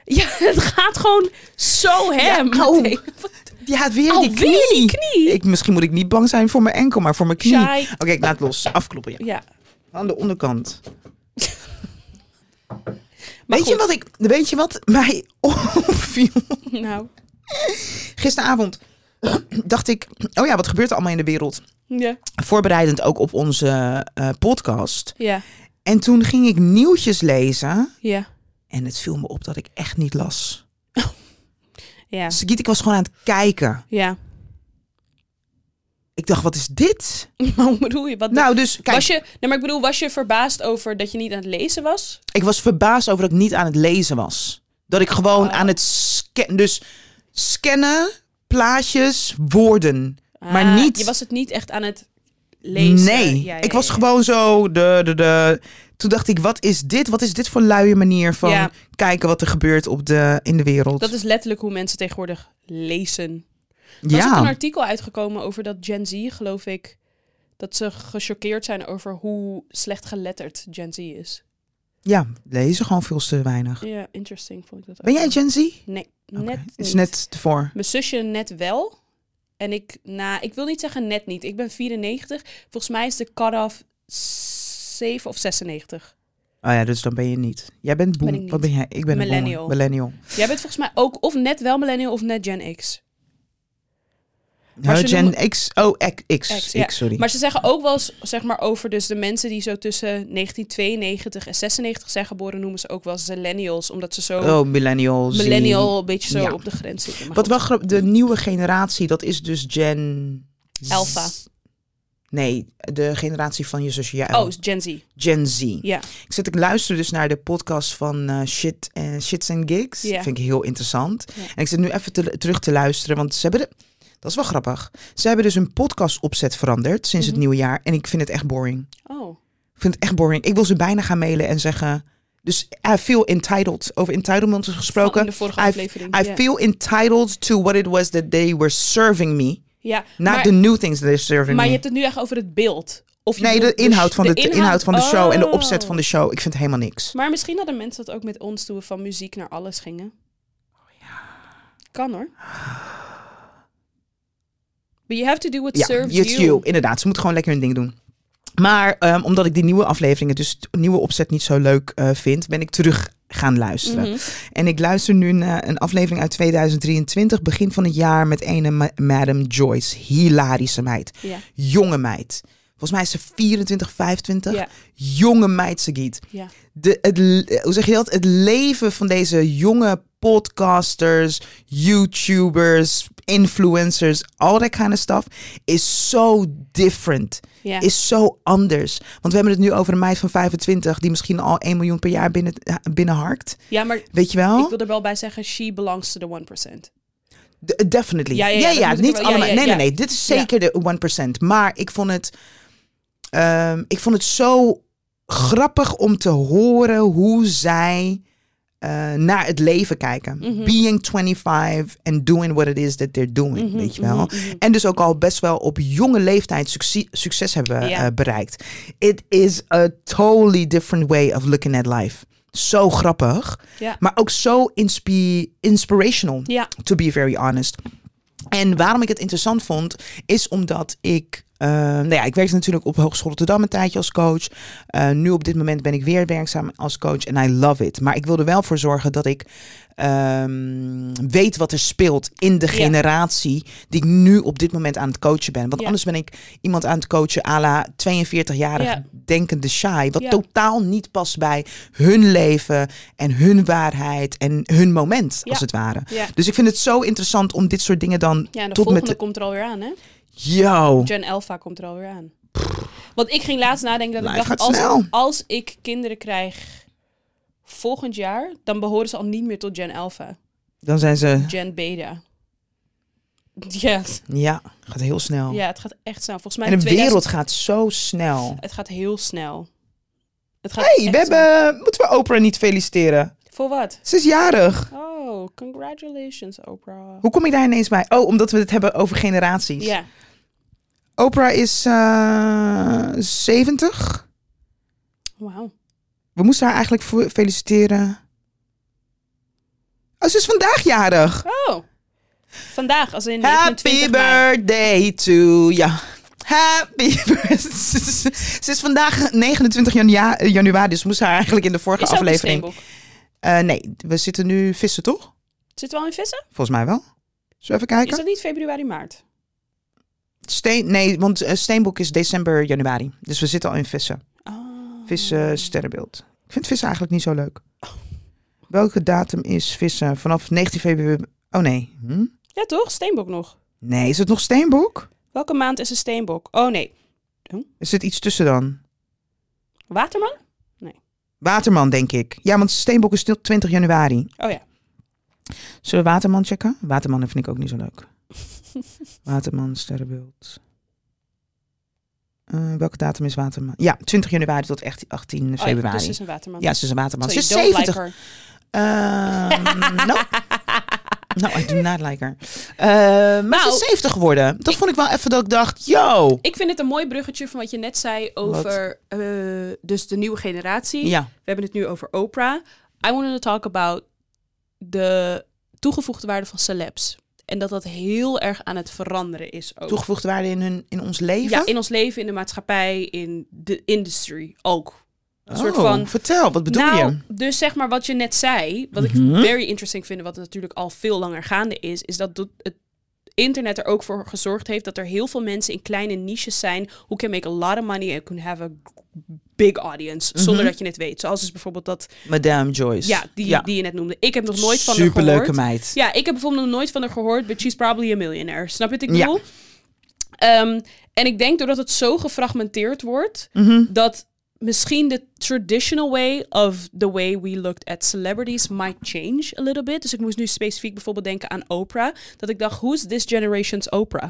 Speaker 1: Ja, [LAUGHS] het gaat gewoon zo hem.
Speaker 2: au.
Speaker 1: meteen. [LAUGHS] Wat-
Speaker 2: Ja, weer die
Speaker 1: Alweer
Speaker 2: knie.
Speaker 1: Oh, die knie.
Speaker 2: Ik, misschien moet ik niet bang zijn voor mijn enkel, maar voor mijn knie.
Speaker 1: Shy.
Speaker 2: Oké, ik laat los. Afkloppen, ja.
Speaker 1: Ja.
Speaker 2: Aan de onderkant.
Speaker 1: Maar
Speaker 2: weet, je
Speaker 1: goed.
Speaker 2: wat ik, weet je wat mij [LAUGHS] opviel?
Speaker 1: Nou,
Speaker 2: Gisteravond [CLEARS THROAT] dacht ik, oh ja, wat gebeurt er allemaal in de wereld?
Speaker 1: ja.
Speaker 2: Voorbereidend ook op onze eh, podcast.
Speaker 1: Ja.
Speaker 2: En toen ging ik nieuwtjes lezen.
Speaker 1: Ja.
Speaker 2: En het viel me op dat ik echt niet las.
Speaker 1: Ja.
Speaker 2: Sagiet, ik was gewoon aan het kijken. [LAUGHS]
Speaker 1: Ja.
Speaker 2: Ik dacht, wat is dit?
Speaker 1: Maar hoe bedoel je? Wat
Speaker 2: Nou, dus kijk,
Speaker 1: was je, nee, maar ik bedoel, was je verbaasd over dat je niet aan het lezen was?
Speaker 2: ik was verbaasd over dat ik niet aan het lezen was. Dat ik gewoon
Speaker 1: Oh.
Speaker 2: aan het scannen... Dus scannen, plaatjes, woorden. maar
Speaker 1: Ah,
Speaker 2: niet...
Speaker 1: Je was het niet echt aan het lezen.
Speaker 2: Nee,
Speaker 1: Ja, ja,
Speaker 2: ik was
Speaker 1: ja.
Speaker 2: gewoon zo... De, de, de, Toen dacht ik, wat is dit? Wat is dit voor luie manier van
Speaker 1: Ja.
Speaker 2: kijken wat er gebeurt op de, in de wereld?
Speaker 1: Dat is letterlijk hoe mensen tegenwoordig lezen. Er is ook een
Speaker 2: ja,
Speaker 1: artikel uitgekomen over dat Gen Z, geloof ik, dat ze gechoqueerd zijn over hoe slecht geletterd Gen Z is.
Speaker 2: ja, lezen gewoon veel te weinig.
Speaker 1: Ja, interesting vond ik dat ook.
Speaker 2: Ben jij
Speaker 1: wel.
Speaker 2: Gen Z?
Speaker 1: Nee,
Speaker 2: Oké,
Speaker 1: net
Speaker 2: Het is
Speaker 1: niet.
Speaker 2: net voor.
Speaker 1: Mijn zusje net wel. En ik, nou, ik wil niet zeggen net niet. Ik ben 94. Volgens mij is de cut-off 7 of 96.
Speaker 2: Oh ja, dus dan ben je niet. Jij bent boom.
Speaker 1: Ben ik niet.
Speaker 2: Wat ben jij? Ik ben een boomer.
Speaker 1: Millennial.
Speaker 2: millennial.
Speaker 1: Jij bent volgens mij ook of net wel millennial of net Gen X. Maar
Speaker 2: Oh,
Speaker 1: ze
Speaker 2: Gen
Speaker 1: noemen-
Speaker 2: X. Oh, X. X,
Speaker 1: X, ja.
Speaker 2: X, sorry.
Speaker 1: Maar ze zeggen ook wel eens, zeg maar, over dus de mensen die zo tussen 1992 en 96 zijn geboren, noemen ze ook wel millennials. Omdat ze zo
Speaker 2: oh, millennial. Z.
Speaker 1: millennial een beetje zo
Speaker 2: Ja.
Speaker 1: op de grens zitten. Maar
Speaker 2: Wat
Speaker 1: goed.
Speaker 2: wel grappig, de nieuwe generatie, dat is dus Gen... Z-
Speaker 1: Alpha.
Speaker 2: Nee, de generatie van je zusje. Ja,
Speaker 1: Oh, Gen Z.
Speaker 2: Gen Z.
Speaker 1: Ja.
Speaker 2: Ik, zit, ik luister dus naar de podcast van eh, Shit en Shits and Gigs.
Speaker 1: Ja.
Speaker 2: Vind ik heel interessant.
Speaker 1: Ja.
Speaker 2: En ik zit nu even te- terug te luisteren, want ze hebben... De, dat is wel grappig. Ze hebben dus hun podcastopzet veranderd sinds
Speaker 1: Mhm.
Speaker 2: het nieuwe jaar. En ik vind het echt boring.
Speaker 1: Oh.
Speaker 2: Ik vind het echt boring. Ik wil ze bijna gaan mailen en zeggen... Dus I feel entitled. Over entitlement is
Speaker 1: Van
Speaker 2: gesproken.
Speaker 1: in de vorige
Speaker 2: I-
Speaker 1: aflevering.
Speaker 2: I
Speaker 1: ja.
Speaker 2: feel entitled to what it was that they were serving me.
Speaker 1: ja.
Speaker 2: Not
Speaker 1: maar,
Speaker 2: the new things that they're serving
Speaker 1: maar je
Speaker 2: me.
Speaker 1: hebt het nu echt over het beeld. Of je
Speaker 2: Nee, de
Speaker 1: bedoelt dus
Speaker 2: inhoud
Speaker 1: sh-
Speaker 2: van de, de inhoud, van de show en de opzet van de
Speaker 1: Oh.
Speaker 2: show. Ik vind helemaal niks.
Speaker 1: Maar misschien hadden mensen dat ook met ons toen we van muziek naar alles gingen.
Speaker 2: Oh,
Speaker 1: Kan hoor. But you have to do what
Speaker 2: Ja,
Speaker 1: serves
Speaker 2: it's you.
Speaker 1: you.
Speaker 2: Inderdaad, ze moeten gewoon lekker hun ding doen. Maar ehm, omdat ik die nieuwe afleveringen, dus de nieuwe opzet niet zo leuk eh, vind, ben ik terug gaan luisteren.
Speaker 1: Mhm.
Speaker 2: En ik luister nu naar een aflevering uit 2023, begin van het jaar, met een ma- Madam Joyce. Hilarische meid.
Speaker 1: Ja.
Speaker 2: Jonge meid. Volgens mij is ze 24, 25.
Speaker 1: Ja.
Speaker 2: Jonge meid, Sagiet.
Speaker 1: Ja.
Speaker 2: de, het, eh, hoe zeg je dat? Het leven van deze jonge podcasters, YouTubers, influencers, all that kind of stuff is so different.
Speaker 1: Ja.
Speaker 2: Is zo anders. Want we hebben het nu over een meid van 25 die misschien al 1 miljoen per jaar binnen, eh, binnenharkt.
Speaker 1: ja, maar
Speaker 2: Weet je wel?
Speaker 1: ik wil er wel bij zeggen, she belongs to the 1%.
Speaker 2: De- definitely.
Speaker 1: Ja,
Speaker 2: Ja,
Speaker 1: ja, ja,
Speaker 2: ja,
Speaker 1: dat moet ik
Speaker 2: niet
Speaker 1: wel- ja,
Speaker 2: allemaal.
Speaker 1: ja,
Speaker 2: nee,
Speaker 1: ja.
Speaker 2: nee, nee. Dit is zeker de 1%. Maar ik vond het... ehm, ik vond het zo grappig om te horen hoe zij eh, naar het leven kijken.
Speaker 1: Mhm.
Speaker 2: Being 25 and doing what it is that they're doing,
Speaker 1: Mhm,
Speaker 2: weet je wel.
Speaker 1: mhm, mhm.
Speaker 2: En dus ook al best wel op jonge leeftijd succes, succes hebben
Speaker 1: Ja.
Speaker 2: eh, bereikt. It is a totally different way of looking at life. Zo grappig,
Speaker 1: Ja.
Speaker 2: maar ook zo inspi- inspirational
Speaker 1: Ja.
Speaker 2: to be very honest. En waarom ik het interessant vond, is omdat ik. eh, nou ja, ik werkte natuurlijk op Hogeschool Rotterdam een tijdje als coach. Eh, nu op dit moment ben ik weer werkzaam als coach en I love it. Maar ik wilde wel voor zorgen dat ik ehm, weet wat er speelt in de
Speaker 1: Ja.
Speaker 2: generatie die ik nu op dit moment aan het coachen ben. Want
Speaker 1: Ja.
Speaker 2: anders ben ik iemand aan het coachen à la 42-jarig
Speaker 1: Ja.
Speaker 2: denkende shy. Wat
Speaker 1: Ja.
Speaker 2: totaal niet past bij hun leven en hun waarheid en hun moment,
Speaker 1: Ja.
Speaker 2: als het ware.
Speaker 1: Ja.
Speaker 2: Dus ik vind het zo interessant om dit soort dingen dan
Speaker 1: Ja, en de
Speaker 2: tot
Speaker 1: volgende
Speaker 2: met...
Speaker 1: komt er alweer aan, hè?
Speaker 2: Yo!
Speaker 1: Gen Alpha komt er alweer aan. Want ik ging laatst nadenken dat ik
Speaker 2: Life
Speaker 1: dacht,
Speaker 2: gaat snel.
Speaker 1: als, als ik kinderen krijg volgend jaar, dan behoren ze al niet meer tot Gen Alpha.
Speaker 2: Dan zijn ze...
Speaker 1: Gen Beta. Ja,
Speaker 2: Ja, gaat heel snel.
Speaker 1: ja, het gaat echt snel. Volgens mij
Speaker 2: Oh. En de
Speaker 1: 2000
Speaker 2: wereld gaat zo snel.
Speaker 1: Het gaat heel snel. Het gaat
Speaker 2: Hé, hey,
Speaker 1: echt
Speaker 2: we hebben... Moeten we Oprah niet feliciteren?
Speaker 1: snel. Voor wat?
Speaker 2: Ze is jarig.
Speaker 1: Oh, congratulations, Oprah.
Speaker 2: Hoe kom ik daar ineens bij? Oh, omdat we het hebben over generaties.
Speaker 1: Ja,
Speaker 2: Oprah is eh 70.
Speaker 1: wauw.
Speaker 2: We moesten haar eigenlijk voor- feliciteren. Oh, ze is vandaag jarig.
Speaker 1: Oh, vandaag, als in 29 mei.
Speaker 2: Happy birthday to ja. Happy birthday. [LAUGHS] Ze is vandaag 29 janu- januari, dus we moesten haar eigenlijk in de vorige
Speaker 1: Is ze ook een
Speaker 2: aflevering.
Speaker 1: steenboek?
Speaker 2: Eh, nee, we zitten nu vissen toch?
Speaker 1: Zit het wel in vissen?
Speaker 2: Volgens mij wel. Zullen we even
Speaker 1: Is
Speaker 2: kijken?
Speaker 1: dat niet februari, maart?
Speaker 2: Steen, nee, want eh, steenboek is december, januari. Dus we zitten al in vissen.
Speaker 1: Oh.
Speaker 2: Vissen, sterrenbeeld. Ik vind vissen eigenlijk niet zo leuk. Welke datum is vissen? Vanaf 19 februari. Oh nee. Hm?
Speaker 1: Ja toch, steenbok nog.
Speaker 2: Nee, is het nog steenboek?
Speaker 1: Welke maand is een steenbok? Oh nee,
Speaker 2: Is zit iets tussen dan?
Speaker 1: Waterman?
Speaker 2: Waterman, denk ik. Ja, want Steenbok is tot 20 januari.
Speaker 1: Oh ja.
Speaker 2: Zullen we Waterman checken? Waterman vind ik ook niet zo leuk. Waterman, sterrenbeeld. Eh, Eh, welke datum is Waterman? Ja, 20 januari tot echt 18
Speaker 1: Oh, ja,
Speaker 2: [LAUGHS] februari.
Speaker 1: dus ze is een waterman.
Speaker 2: ja, ze is een Waterman.
Speaker 1: So
Speaker 2: Ze
Speaker 1: you
Speaker 2: is
Speaker 1: don't like
Speaker 2: 70.
Speaker 1: her.
Speaker 2: Ehm,
Speaker 1: [LAUGHS]
Speaker 2: no. No, I do not like her. Eh, maar ze
Speaker 1: Nou,
Speaker 2: is 70 geworden. Dat vond ik wel even dat ik dacht, yo.
Speaker 1: Ik vind het een mooi bruggetje van wat je net zei over eh, dus de nieuwe generatie.
Speaker 2: Ja,
Speaker 1: We hebben het nu over Oprah. I wanted to talk about de toegevoegde waarde van celebs. En dat dat heel erg aan het veranderen is ook.
Speaker 2: toegevoegde waarde in, hun, in ons leven.
Speaker 1: ja, in ons leven, in de maatschappij, in de industry ook. Een soort
Speaker 2: Oh,
Speaker 1: van...
Speaker 2: Vertel, wat bedoel
Speaker 1: nou,
Speaker 2: je?
Speaker 1: dus zeg maar wat je net zei, wat
Speaker 2: Mhm.
Speaker 1: ik very interesting vind, en wat natuurlijk al veel langer gaande is, is dat doet- het internet er ook voor gezorgd heeft dat er heel veel mensen in kleine niches zijn who can make a lot of money and can have a big audience,
Speaker 2: Mhm.
Speaker 1: zonder dat je het weet. Zoals dus bijvoorbeeld dat,
Speaker 2: Madame Joyce.
Speaker 1: ja, die, die je net noemde. Ik heb nog nooit van haar
Speaker 2: Superleuke
Speaker 1: gehoord.
Speaker 2: meid.
Speaker 1: Ja, ik heb bijvoorbeeld nog nooit van haar gehoord, but she's probably a millionaire. Snap je wat ik
Speaker 2: Ja.
Speaker 1: bedoel? Ehm, en ik denk doordat het zo gefragmenteerd wordt,
Speaker 2: Mhm.
Speaker 1: dat misschien de traditional way of the way we looked at celebrities might change a little bit. Dus ik moest nu specifiek bijvoorbeeld denken aan Oprah. Dat ik dacht, who's this generation's Oprah?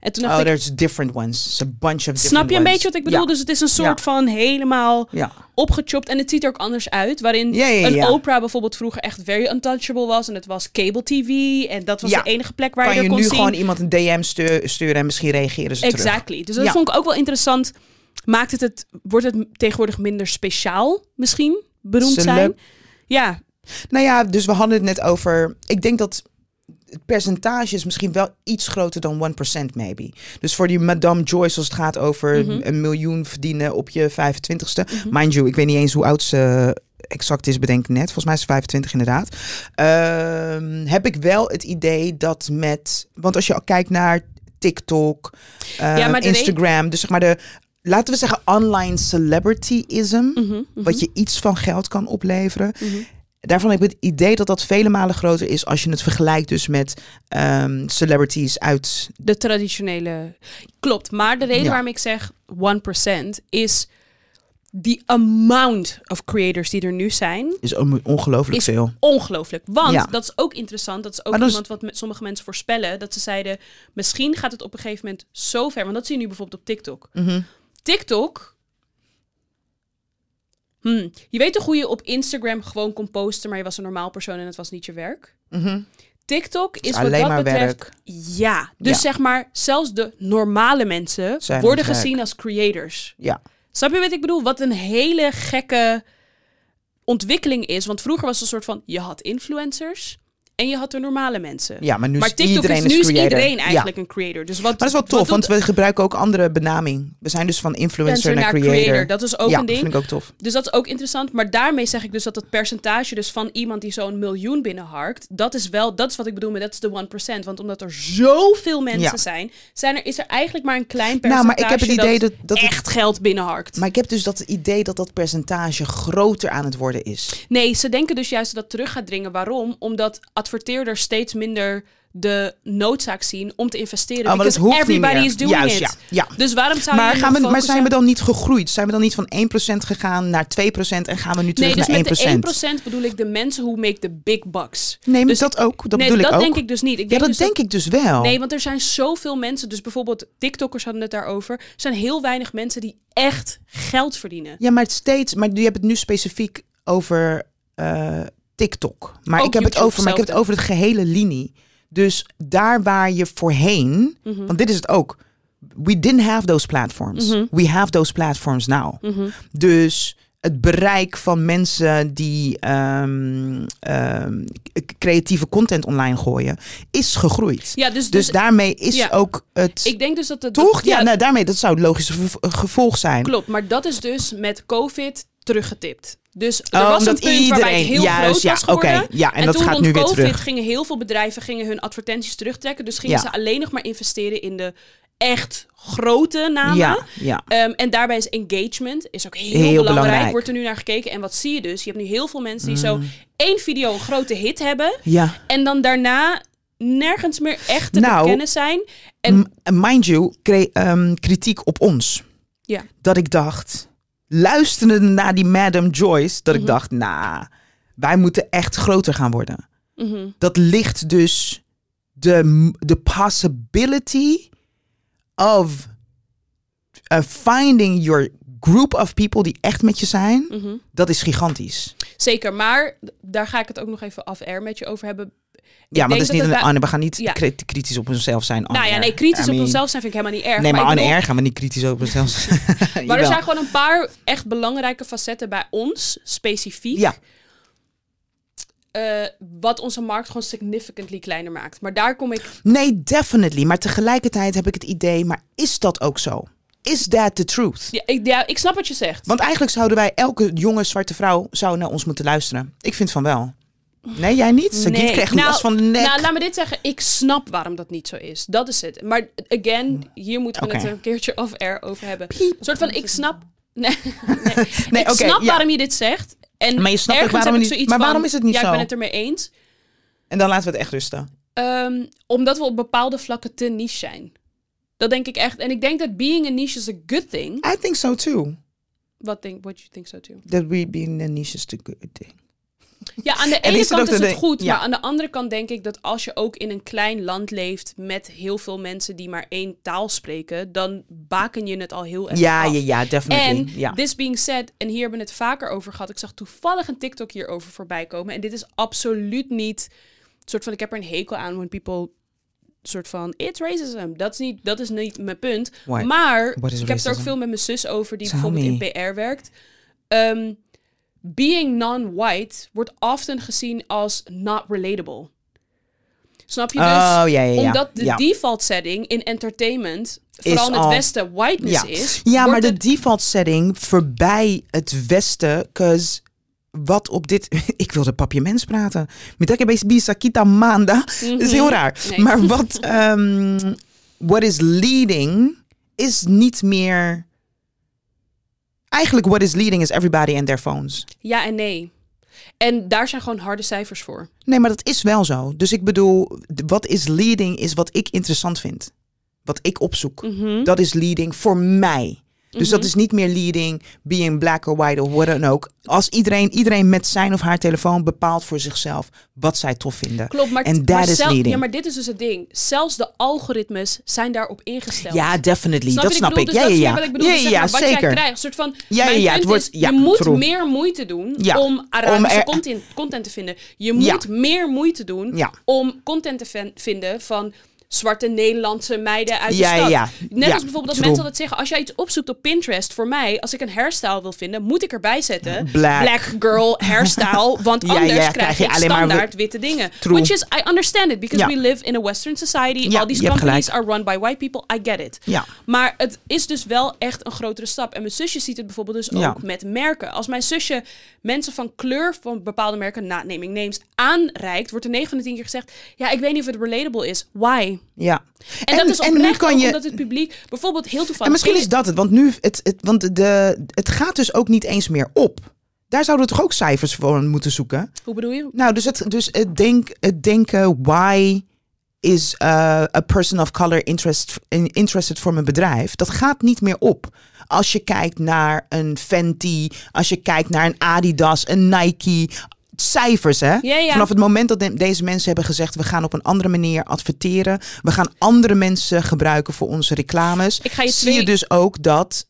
Speaker 1: En toen dacht
Speaker 2: Oh,
Speaker 1: ik,
Speaker 2: there's different ones. It's a bunch of different
Speaker 1: snap je een
Speaker 2: ones.
Speaker 1: beetje wat ik bedoel?
Speaker 2: Ja.
Speaker 1: Dus het is een soort
Speaker 2: Ja.
Speaker 1: van helemaal
Speaker 2: Ja.
Speaker 1: opgechopt. En het ziet er ook anders uit. Waarin
Speaker 2: Ja, ja,
Speaker 1: een
Speaker 2: ja.
Speaker 1: Oprah bijvoorbeeld vroeger echt very untouchable was. En het was cable tv. En dat was
Speaker 2: Ja.
Speaker 1: de enige plek waar
Speaker 2: kan
Speaker 1: je
Speaker 2: je
Speaker 1: er kon
Speaker 2: nu
Speaker 1: zien.
Speaker 2: gewoon iemand een DM stu- sturen en misschien reageren ze terug.
Speaker 1: Exactly. Dus dat
Speaker 2: Ja.
Speaker 1: vond ik ook wel interessant. Maakt het het, wordt het tegenwoordig minder speciaal misschien? Beroemd
Speaker 2: Celeb-
Speaker 1: zijn? Ja.
Speaker 2: Nou ja, dus we hadden het net over. Ik denk dat het percentage is misschien wel iets groter dan 1% maybe. Dus voor die Madame Joyce als het gaat over
Speaker 1: Mhm.
Speaker 2: een miljoen verdienen op je 25ste. Mind you, ik weet niet eens hoe oud ze exact is, bedenk ik net. Volgens mij is ze 25 inderdaad. Ehm, heb ik wel het idee dat met... Want als je al kijkt naar TikTok, ehm,
Speaker 1: Ja, maar de re-
Speaker 2: Instagram, dus zeg maar de... Laten we zeggen online celebrityism,
Speaker 1: mhm,
Speaker 2: wat je iets van geld kan opleveren. Daarvan heb ik het idee dat dat vele malen groter is als je het vergelijkt dus met ehm, celebrities uit...
Speaker 1: De traditionele. Klopt. Maar de reden
Speaker 2: Ja.
Speaker 1: waarom ik zeg 1% is the amount of creators die er nu zijn.
Speaker 2: is on- ongelooflijk
Speaker 1: Is
Speaker 2: veel.
Speaker 1: Ongelooflijk. Want
Speaker 2: Ja.
Speaker 1: dat is ook interessant. Dat is ook
Speaker 2: Maar dat is-
Speaker 1: iemand wat met sommige mensen voorspellen. Dat ze zeiden, misschien gaat het op een gegeven moment zo ver. Want dat zie je nu bijvoorbeeld op TikTok. TikTok. Hmm. Je weet toch hoe je op Instagram gewoon kon posten, maar je was een normaal persoon en het was niet je werk? TikTok Mhm. is, wat
Speaker 2: Dus alleen
Speaker 1: dat
Speaker 2: maar
Speaker 1: betreft.
Speaker 2: werk.
Speaker 1: Ja, dus
Speaker 2: Ja.
Speaker 1: zeg maar, zelfs de normale mensen
Speaker 2: Zijn
Speaker 1: worden
Speaker 2: aan het
Speaker 1: gezien als creators.
Speaker 2: Ja.
Speaker 1: Snap je wat ik bedoel? Wat een hele gekke ontwikkeling is. Want vroeger was het een soort van, je had influencers en je had de normale mensen.
Speaker 2: ja, maar nu
Speaker 1: maar
Speaker 2: is
Speaker 1: TikTok
Speaker 2: iedereen
Speaker 1: is, nu
Speaker 2: is
Speaker 1: is
Speaker 2: creator.
Speaker 1: iedereen
Speaker 2: Ja.
Speaker 1: eigenlijk een creator. Dus wat,
Speaker 2: Maar dat is wel
Speaker 1: wat
Speaker 2: tof,
Speaker 1: doet
Speaker 2: want we gebruiken ook andere benaming. We zijn dus van influencer
Speaker 1: influencer
Speaker 2: naar creator.
Speaker 1: Dat is ook
Speaker 2: ja,
Speaker 1: een
Speaker 2: dat
Speaker 1: ding.
Speaker 2: vind ik ook tof.
Speaker 1: Dus dat is ook interessant. Maar daarmee zeg ik dus dat het percentage dus van iemand die zo'n miljoen binnenharkt, dat is wel, dat is wat ik bedoel met dat is de 1%. Want omdat er zoveel mensen
Speaker 2: Ja.
Speaker 1: zijn, zijn er, is er eigenlijk maar een klein
Speaker 2: Nou,
Speaker 1: percentage
Speaker 2: maar ik heb het idee dat, dat het-
Speaker 1: echt geld binnenharkt.
Speaker 2: maar ik heb dus dat idee dat dat percentage groter aan het worden is.
Speaker 1: Nee, ze denken dus juist dat het terug gaat dringen. Waarom? Omdat adverteerders steeds minder de noodzaak zien om te investeren.
Speaker 2: Oh, maar dat
Speaker 1: Because
Speaker 2: hoeft niet
Speaker 1: everybody
Speaker 2: meer.
Speaker 1: is doing
Speaker 2: Juist,
Speaker 1: it.
Speaker 2: ja, ja.
Speaker 1: Dus waarom zou
Speaker 2: Maar,
Speaker 1: je
Speaker 2: gaan we,
Speaker 1: nog
Speaker 2: maar zijn we
Speaker 1: focussen-
Speaker 2: dan niet gegroeid? Zijn we dan niet van 1% gegaan naar 2% en gaan we nu terug
Speaker 1: Nee, dus
Speaker 2: naar
Speaker 1: met
Speaker 2: 1%?
Speaker 1: de 1% bedoel ik de mensen who make the big bucks.
Speaker 2: Nee, maar
Speaker 1: Dus-
Speaker 2: dat ook. Dat
Speaker 1: nee,
Speaker 2: bedoel
Speaker 1: dat
Speaker 2: ik ook.
Speaker 1: denk ik dus niet. Ik
Speaker 2: ja,
Speaker 1: denk
Speaker 2: dat
Speaker 1: dus
Speaker 2: denk ik dus wel.
Speaker 1: Nee, want er zijn zoveel mensen, dus bijvoorbeeld TikTokkers hadden het daarover. Er zijn heel weinig mensen die echt geld verdienen.
Speaker 2: Ja, maar het steeds. Maar je hebt het nu specifiek over eh, TikTok. Maar
Speaker 1: Ook
Speaker 2: ik heb het
Speaker 1: YouTube
Speaker 2: over. Maar ik heb het over het gehele linie. Dus daar waar je voorheen.
Speaker 1: Mhm.
Speaker 2: Want dit is het ook. We didn't have those platforms. We have those platforms now.
Speaker 1: Mhm.
Speaker 2: Dus het bereik van mensen die ehm, ehm, k- creatieve content online gooien, is gegroeid.
Speaker 1: Ja, dus,
Speaker 2: Dus
Speaker 1: dus,
Speaker 2: daarmee is
Speaker 1: ja.
Speaker 2: ook het.
Speaker 1: ik denk dus dat het...
Speaker 2: toch? Ja,
Speaker 1: ja,
Speaker 2: nou, daarmee, dat zou het logische gevo- gevolg zijn.
Speaker 1: klopt. Maar dat is dus met COVID teruggetipt. Dus er
Speaker 2: Oh,
Speaker 1: was een
Speaker 2: omdat
Speaker 1: punt waarbij het
Speaker 2: iedereen-
Speaker 1: heel
Speaker 2: juist,
Speaker 1: groot
Speaker 2: ja,
Speaker 1: was geworden.
Speaker 2: oké, ja, en dat
Speaker 1: toen
Speaker 2: gaat
Speaker 1: rond
Speaker 2: nu weer
Speaker 1: COVID
Speaker 2: terug.
Speaker 1: gingen heel veel bedrijven gingen hun advertenties terugtrekken. Dus gingen
Speaker 2: Ja.
Speaker 1: ze alleen nog maar investeren in de echt grote namen.
Speaker 2: Ja, ja.
Speaker 1: Ehm, en daarbij is engagement is ook heel,
Speaker 2: Heel
Speaker 1: belangrijk.
Speaker 2: belangrijk. Mm.
Speaker 1: Wordt er nu naar gekeken. En wat zie je dus? Je hebt nu heel veel mensen die zo één video een grote hit hebben.
Speaker 2: ja.
Speaker 1: En dan daarna nergens meer echt te
Speaker 2: Nou,
Speaker 1: bekennen zijn. En
Speaker 2: M- en mind you, cre- ehm, kritiek op ons.
Speaker 1: ja,
Speaker 2: Dat ik dacht, luisterende naar die Madam Joyce, dat
Speaker 1: Mhm.
Speaker 2: ik dacht, nou, wij moeten echt groter gaan worden.
Speaker 1: Mhm,
Speaker 2: Dat ligt dus de, m- de possibility of eh, finding your group of people die echt met je zijn,
Speaker 1: Mhm.
Speaker 2: dat is gigantisch.
Speaker 1: Zeker, maar d- daar ga ik het ook nog even af-air met je over hebben.
Speaker 2: Ja,
Speaker 1: denk
Speaker 2: want dat is
Speaker 1: dat
Speaker 2: niet
Speaker 1: het
Speaker 2: een,
Speaker 1: bij-
Speaker 2: Anne, we gaan niet
Speaker 1: Ja.
Speaker 2: kri- kritisch op onszelf zijn. on
Speaker 1: nou ja,
Speaker 2: air.
Speaker 1: nee, kritisch
Speaker 2: I mean-
Speaker 1: op onszelf zijn vind ik helemaal niet erg.
Speaker 2: Nee, maar,
Speaker 1: ik
Speaker 2: on
Speaker 1: bedoel-
Speaker 2: air gaan we niet kritisch op onszelf [LAUGHS] zijn.
Speaker 1: [LAUGHS] maar er
Speaker 2: Jawel.
Speaker 1: zijn gewoon een paar echt belangrijke facetten bij ons, specifiek.
Speaker 2: Ja.
Speaker 1: eh, wat onze markt gewoon significantly kleiner maakt. Maar daar kom ik...
Speaker 2: Nee, definitely. Maar tegelijkertijd heb ik het idee, maar is dat ook zo? Is that the truth?
Speaker 1: Ja, ik, ja, ik snap wat je zegt.
Speaker 2: Want eigenlijk zouden wij, elke jonge zwarte vrouw zou naar ons moeten luisteren. Ik vind van wel. Nee, jij niet? Ze
Speaker 1: Nee.
Speaker 2: krijgt
Speaker 1: Nou,
Speaker 2: last van de nek.
Speaker 1: Nou, laat me dit zeggen. Ik snap waarom dat niet zo is. Dat is het. Maar again, hier moeten we
Speaker 2: Hmm. Oké.
Speaker 1: het een keertje off-air over hebben.
Speaker 2: Piep.
Speaker 1: Een soort van, ik snap... [LAUGHS] Nee, nee.
Speaker 2: Nee,
Speaker 1: ik
Speaker 2: oké,
Speaker 1: snap
Speaker 2: ja.
Speaker 1: waarom je dit zegt. En
Speaker 2: Maar je snapt ook
Speaker 1: ergens
Speaker 2: waarom
Speaker 1: heb ik
Speaker 2: niet-
Speaker 1: zoiets
Speaker 2: maar
Speaker 1: van,
Speaker 2: waarom is het niet
Speaker 1: ja,
Speaker 2: zo?
Speaker 1: ik ben het ermee eens.
Speaker 2: En dan laten we het echt rusten.
Speaker 1: Ehm, omdat we op bepaalde vlakken te niche zijn. Dat denk ik echt. En ik denk dat being a niche is a good thing.
Speaker 2: I think so too.
Speaker 1: What, think, what you think so too?
Speaker 2: That we being a niche is the good thing.
Speaker 1: Ja, aan de
Speaker 2: En
Speaker 1: ene
Speaker 2: is het
Speaker 1: kant
Speaker 2: ook
Speaker 1: is
Speaker 2: de
Speaker 1: het
Speaker 2: ding-
Speaker 1: goed,
Speaker 2: ja.
Speaker 1: maar aan de andere kant denk ik dat als je ook in een klein land leeft met heel veel mensen die maar één taal spreken, dan baken je het al heel erg
Speaker 2: Ja,
Speaker 1: af.
Speaker 2: ja, ja,
Speaker 1: En
Speaker 2: definitely. Ja.
Speaker 1: this being said, en hier hebben we het vaker over gehad. Ik zag toevallig een TikTok hierover voorbij komen. En dit is absoluut niet soort van ik heb er een hekel aan when people soort van it's racism. Dat is niet dat is niet mijn punt.
Speaker 2: Why?
Speaker 1: Maar
Speaker 2: What is
Speaker 1: ik heb het er ook
Speaker 2: racism?
Speaker 1: veel met mijn zus over die
Speaker 2: Tell
Speaker 1: bijvoorbeeld
Speaker 2: me.
Speaker 1: in PR werkt. Ehm, being non-white wordt often gezien als not relatable. Snap je dus?
Speaker 2: Oh, ja, ja, ja.
Speaker 1: Omdat de
Speaker 2: Ja.
Speaker 1: default setting in entertainment, vooral in het
Speaker 2: al-
Speaker 1: Westen, whiteness
Speaker 2: ja.
Speaker 1: is.
Speaker 2: ja,
Speaker 1: wordt
Speaker 2: maar de
Speaker 1: het-
Speaker 2: default setting voorbij het Westen. Cause wat op dit. [LAUGHS] Ik wilde papiaments praten. Mitake bij Sakita Manda. [LAUGHS] Dat is heel raar.
Speaker 1: Mhm. Nee. [LAUGHS]
Speaker 2: Maar wat. ehm what is leading is niet meer. Eigenlijk, what is leading is everybody and their phones.
Speaker 1: Ja en nee. En daar zijn gewoon harde cijfers voor.
Speaker 2: Nee, maar dat is wel zo. Dus ik bedoel, d- wat is leading is wat ik interessant vind. Wat ik opzoek.
Speaker 1: Mhm.
Speaker 2: Dat is leading voor mij. Dus dat is niet meer leading, being black or white of what dan ook. Als iedereen, iedereen met zijn of haar telefoon bepaalt voor zichzelf wat zij tof vinden.
Speaker 1: Klopt, maar,
Speaker 2: En
Speaker 1: maar,
Speaker 2: that is
Speaker 1: zel-
Speaker 2: leading.
Speaker 1: ja, maar dit is dus het ding. Zelfs de algoritmes zijn daarop ingesteld.
Speaker 2: Ja, definitely.
Speaker 1: Snap je
Speaker 2: dat
Speaker 1: wat
Speaker 2: snap
Speaker 1: bedoel?
Speaker 2: ik.
Speaker 1: Dus dat
Speaker 2: Ja,
Speaker 1: is meer
Speaker 2: ja,
Speaker 1: wat
Speaker 2: ja.
Speaker 1: ik bedoel.
Speaker 2: Ja,
Speaker 1: Dus
Speaker 2: ja,
Speaker 1: zeg
Speaker 2: ja,
Speaker 1: maar wat jij
Speaker 2: zeker.
Speaker 1: krijgt. Een soort van,
Speaker 2: Ja, ja,
Speaker 1: mijn
Speaker 2: ja, het
Speaker 1: punt
Speaker 2: wordt-
Speaker 1: is,
Speaker 2: ja,
Speaker 1: je moet
Speaker 2: true.
Speaker 1: meer moeite doen
Speaker 2: Ja,
Speaker 1: om Arabische
Speaker 2: er-
Speaker 1: content, content te vinden. Je
Speaker 2: Ja.
Speaker 1: moet meer moeite doen
Speaker 2: Ja.
Speaker 1: om content te ven- vinden van zwarte Nederlandse meiden uit
Speaker 2: Ja,
Speaker 1: de stad.
Speaker 2: ja,
Speaker 1: Net
Speaker 2: ja,
Speaker 1: als bijvoorbeeld dat
Speaker 2: true.
Speaker 1: mensen altijd zeggen, als jij iets opzoekt op Pinterest, voor mij, als ik een hairstyle wil vinden, moet ik erbij zetten
Speaker 2: Black.
Speaker 1: girl
Speaker 2: [LAUGHS]
Speaker 1: hairstyle, want
Speaker 2: Ja,
Speaker 1: anders
Speaker 2: ja,
Speaker 1: krijg,
Speaker 2: krijg
Speaker 1: je
Speaker 2: je
Speaker 1: ik
Speaker 2: alleen maar
Speaker 1: standaard
Speaker 2: wit-
Speaker 1: witte dingen.
Speaker 2: True.
Speaker 1: Which is, I understand it, because
Speaker 2: Ja.
Speaker 1: we live in a western society,
Speaker 2: Ja,
Speaker 1: all these
Speaker 2: je hebt
Speaker 1: companies
Speaker 2: gelijk.
Speaker 1: are run by white people. I get it.
Speaker 2: Ja.
Speaker 1: Maar het is dus wel echt een grotere stap. En mijn zusje ziet het bijvoorbeeld dus ook
Speaker 2: Ja.
Speaker 1: met merken. Als mijn zusje mensen van kleur van bepaalde merken, na naming names, aanreikt, wordt er 9 van de 10 keer gezegd: Ja, ik weet niet of het relatable is. Why?
Speaker 2: Ja.
Speaker 1: En, dat is oprecht
Speaker 2: nu kan
Speaker 1: ook
Speaker 2: je,
Speaker 1: omdat het publiek, bijvoorbeeld heel toevallig...
Speaker 2: En misschien is dat het, want nu het, het, want de, het gaat dus ook niet eens meer op. Daar zouden we toch ook cijfers voor moeten zoeken.
Speaker 1: Hoe bedoel je?
Speaker 2: Nou, dus het, dus het, denk, het denken why is eh, a person of color interest, in- interested voor mijn bedrijf, dat gaat niet meer op. Als je kijkt naar een Fenty, als je kijkt naar een Adidas, een Nike. Cijfers, hè?
Speaker 1: Ja, ja.
Speaker 2: Vanaf het moment dat de- deze mensen hebben gezegd: we gaan op een andere manier adverteren, we gaan andere mensen gebruiken voor onze reclames,
Speaker 1: Ik ga je
Speaker 2: zie je
Speaker 1: twee-
Speaker 2: dus ook dat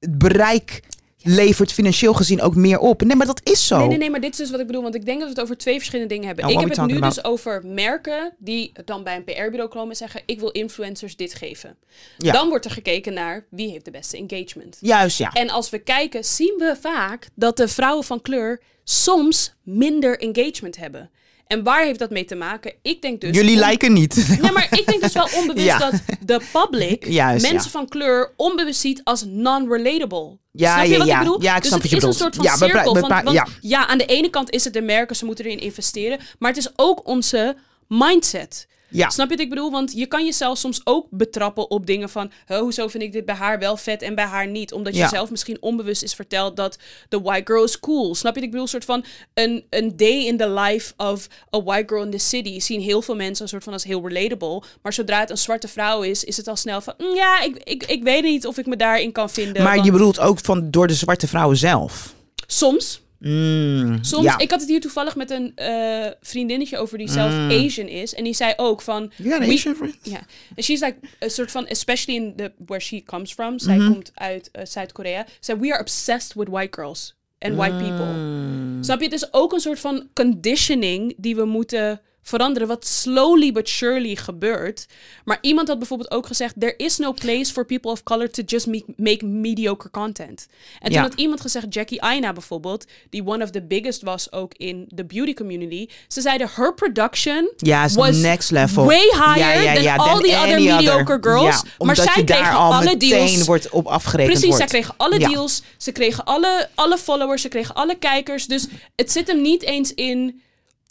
Speaker 2: het bereik levert financieel gezien ook meer op. Nee, maar dat is zo.
Speaker 1: Nee, nee, nee, maar dit is dus wat ik bedoel. Want ik denk dat we het over twee verschillende dingen hebben.
Speaker 2: Oh,
Speaker 1: ik
Speaker 2: what
Speaker 1: heb het
Speaker 2: we
Speaker 1: nu
Speaker 2: talking
Speaker 1: dus over merken die dan bij een PR-bureau komen en zeggen... ik wil influencers dit geven.
Speaker 2: Ja.
Speaker 1: Dan wordt er gekeken naar wie heeft de beste engagement.
Speaker 2: Juist, ja.
Speaker 1: En als we kijken, zien we vaak dat de vrouwen van kleur soms minder engagement hebben. En waar heeft dat mee te maken? Ik denk dus...
Speaker 2: Jullie
Speaker 1: om-
Speaker 2: lijken niet.
Speaker 1: Nee, maar ik denk dus wel onbewust
Speaker 2: Ja.
Speaker 1: dat de public
Speaker 2: [LAUGHS] Juist,
Speaker 1: mensen
Speaker 2: ja.
Speaker 1: van kleur onbewust ziet als non-relatable.
Speaker 2: Ja,
Speaker 1: snap je
Speaker 2: ja,
Speaker 1: wat
Speaker 2: ja.
Speaker 1: ik bedoel?
Speaker 2: Ja, ik
Speaker 1: dus
Speaker 2: snap
Speaker 1: het
Speaker 2: wat je
Speaker 1: is een
Speaker 2: bedoelt.
Speaker 1: soort van
Speaker 2: Ja, bepra-
Speaker 1: cirkel. van-
Speaker 2: bepra-
Speaker 1: want, ja.
Speaker 2: ja.
Speaker 1: aan de ene kant is het de merken, ze moeten erin investeren. Maar het is ook onze mindset.
Speaker 2: Ja.
Speaker 1: Snap je wat ik bedoel? Want je kan jezelf soms ook betrappen op dingen van... "Huh, hoezo vind ik dit bij haar wel vet en bij haar niet? Omdat je
Speaker 2: Ja.
Speaker 1: Dus zelf misschien onbewust is verteld dat de white girl is cool. Snap je wat ik bedoel? Een soort van een, een day in the life of a white girl in the city... zien heel veel mensen een soort van als heel relatable. Maar zodra het een zwarte vrouw is, is het al snel van... "Mm, ja, ik, ik, ik weet niet of ik me daarin kan vinden.
Speaker 2: [LAUGHS] Maar
Speaker 1: want
Speaker 2: je bedoelt ook van door de zwarte vrouwen zelf.
Speaker 1: Soms...
Speaker 2: Mm,
Speaker 1: Soms,
Speaker 2: ja.
Speaker 1: ik had het hier toevallig met een eh, vriendinnetje over die zelf
Speaker 2: Mm.
Speaker 1: Asian is. En die zei ook van,
Speaker 2: You got an
Speaker 1: we-
Speaker 2: Asian friend?
Speaker 1: Ja, en she's like a soort van, especially in the where she comes from. Zij
Speaker 2: Mhm.
Speaker 1: komt uit eh, Zuid-Korea. Zij, we are obsessed with white girls and white people.
Speaker 2: Mm.
Speaker 1: Snap je? Het is ook een soort van conditioning die we moeten veranderen, wat slowly but surely gebeurt. Maar iemand had bijvoorbeeld ook gezegd, there is no place for people of color to just me- make mediocre content. En toen
Speaker 2: Ja.
Speaker 1: had iemand gezegd, Jackie Aina bijvoorbeeld, die one of the biggest was ook in the beauty community, ze zeiden, her production
Speaker 2: Ja, is
Speaker 1: was
Speaker 2: next level.
Speaker 1: way higher than all the
Speaker 2: any
Speaker 1: other mediocre girls.
Speaker 2: Ja,
Speaker 1: Maar
Speaker 2: omdat
Speaker 1: zij
Speaker 2: je daar
Speaker 1: kregen
Speaker 2: al
Speaker 1: alle
Speaker 2: meteen
Speaker 1: deals.
Speaker 2: wordt op afgerekend
Speaker 1: Precies, zij
Speaker 2: wordt.
Speaker 1: kregen alle
Speaker 2: Ja.
Speaker 1: deals, ze kregen alle, alle followers, ze kregen alle kijkers. Dus het zit hem niet eens in.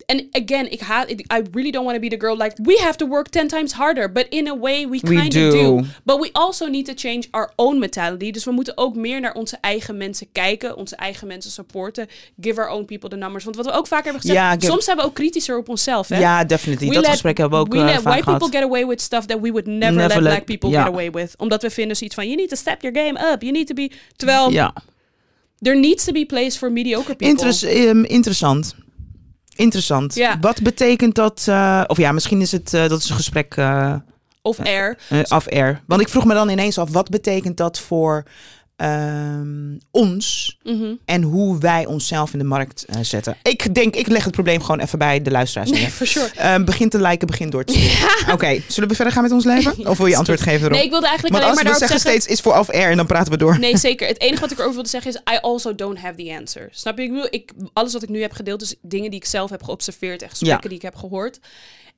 Speaker 1: En again, ik haat, I really don't want to be the girl like we have to work ten times harder, but in a way we
Speaker 2: We
Speaker 1: kind of do.
Speaker 2: do.
Speaker 1: But we also need to change our own mentality. Dus we moeten ook meer naar onze eigen mensen kijken, onze eigen mensen supporten, give our own people the numbers. Want wat we ook vaak hebben gezegd,
Speaker 2: Ja, ik heb-
Speaker 1: soms zijn we ook kritischer op onszelf. Hè?
Speaker 2: Ja, definitely.
Speaker 1: We
Speaker 2: dat
Speaker 1: let-
Speaker 2: gesprek hebben we ook
Speaker 1: We
Speaker 2: eh,
Speaker 1: let
Speaker 2: vaak
Speaker 1: white
Speaker 2: gehad.
Speaker 1: people get away with stuff that we would never,
Speaker 2: Never
Speaker 1: let,
Speaker 2: let-
Speaker 1: black people
Speaker 2: ja.
Speaker 1: get away with. Omdat we vinden zoiets van, you need to step your game up. You need to be... Terwijl,
Speaker 2: ja.
Speaker 1: there needs to be place for mediocre people.
Speaker 2: Interes- ehm, interessant. Interessant.
Speaker 1: Ja.
Speaker 2: Wat betekent dat? eh, of ja, misschien is het eh, dat is een gesprek eh,
Speaker 1: Of air.
Speaker 2: eh, af-air. Want ik vroeg me dan ineens af, wat betekent dat voor ehm, ons
Speaker 1: Mhm.
Speaker 2: en hoe wij onszelf in de markt eh, zetten? Ik denk, ik leg het probleem gewoon even bij de luisteraars neer.
Speaker 1: Nee, for sure.
Speaker 2: Ehm, begin te liken, begin door
Speaker 1: [LAUGHS]
Speaker 2: te sturen. Oké, zullen we verder gaan met ons leven? Of wil je antwoord geven erop?
Speaker 1: Nee, ik wilde eigenlijk
Speaker 2: Want
Speaker 1: alleen
Speaker 2: als
Speaker 1: maar
Speaker 2: we
Speaker 1: daarop
Speaker 2: zeggen
Speaker 1: zeggen...
Speaker 2: steeds is voor off-air en dan praten we door.
Speaker 1: Nee, zeker. Het enige wat ik erover wilde zeggen is... I also don't have the answer. Snap je? Ik bedoel, ik, alles wat ik nu heb gedeeld... is dingen die ik zelf heb geobserveerd... en gesprekken
Speaker 2: Ja.
Speaker 1: die ik heb gehoord.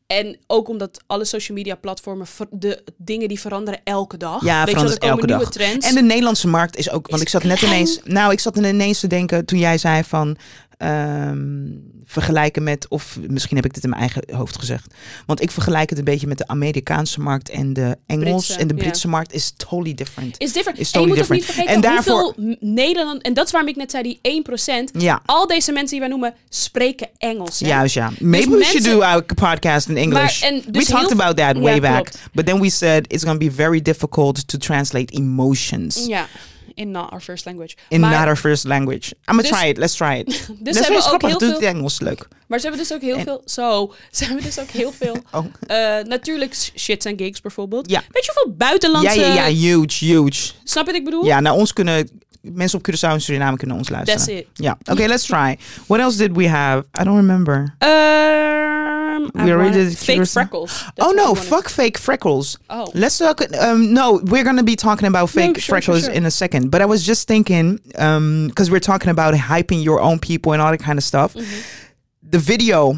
Speaker 1: En ook omdat alle social media platformen... ver- de dingen die veranderen elke dag.
Speaker 2: Ja,
Speaker 1: Weet je, wel, er
Speaker 2: verandert
Speaker 1: komen
Speaker 2: elke
Speaker 1: nieuwe
Speaker 2: dag.
Speaker 1: trends.
Speaker 2: En de Nederlandse markt is ook, want
Speaker 1: Is
Speaker 2: ik zat net
Speaker 1: klein.
Speaker 2: ineens, nou, ik zat ineens te denken toen jij zei van ehm, vergelijken met, of misschien heb ik dit in mijn eigen hoofd gezegd, want ik vergelijk het een beetje met de Amerikaanse markt en de Engels
Speaker 1: Britse,
Speaker 2: en de
Speaker 1: ja.
Speaker 2: Britse markt is totally different.
Speaker 1: is different.
Speaker 2: Is
Speaker 1: en je moet
Speaker 2: totally
Speaker 1: ook niet
Speaker 2: different.
Speaker 1: vergeten
Speaker 2: En
Speaker 1: hoeveel Nederland... En dat is waarom ik net zei, die 1%.
Speaker 2: Ja,
Speaker 1: Al deze mensen die wij noemen, spreken Engels. hè?
Speaker 2: juist ja. Maybe we should
Speaker 1: Dus mensen-
Speaker 2: do our podcast in English.
Speaker 1: en
Speaker 2: we
Speaker 1: dus heel
Speaker 2: talked
Speaker 1: veel-
Speaker 2: about that
Speaker 1: Ja,
Speaker 2: way back,
Speaker 1: klopt.
Speaker 2: but then we said it's going to be very difficult to translate emotions
Speaker 1: Ja, in not our first language.
Speaker 2: in
Speaker 1: maar,
Speaker 2: not our first language. I'm gonna
Speaker 1: Dus-
Speaker 2: try it. Let's try it. Dus
Speaker 1: [LAUGHS] dus ze hebben ook heel
Speaker 2: Doe het
Speaker 1: veel,
Speaker 2: in Engels leuk.
Speaker 1: maar ze hebben dus ook heel veel, zo, [LAUGHS] ze hebben dus ook heel veel,
Speaker 2: [LAUGHS] Oh.
Speaker 1: eh, natuurlijk sh- shits en gigs bijvoorbeeld.
Speaker 2: Ja.
Speaker 1: Weet je hoeveel buitenlandse,
Speaker 2: Ja, ja, ja, huge, huge.
Speaker 1: snap je wat ik bedoel?
Speaker 2: Ja, nou ons kunnen mensen op Curaçao en Suriname kunnen ons
Speaker 1: That's
Speaker 2: luisteren.
Speaker 1: it.
Speaker 2: Ja, oké, let's try. What else did we have? I don't remember.
Speaker 1: Ehm, I
Speaker 2: already
Speaker 1: wanna-
Speaker 2: did
Speaker 1: fake
Speaker 2: Curaçao.
Speaker 1: freckles. That's
Speaker 2: oh
Speaker 1: what
Speaker 2: no,
Speaker 1: I wanted.
Speaker 2: fuck fake freckles.
Speaker 1: Oh.
Speaker 2: Let's talk. Um, no, we're gonna be talking about fake
Speaker 1: sure, sure,
Speaker 2: freckles
Speaker 1: sure.
Speaker 2: in a second. But I was just thinking, um, because we're talking about hyping your own people and all that kind of stuff.
Speaker 1: Mm-hmm.
Speaker 2: The video,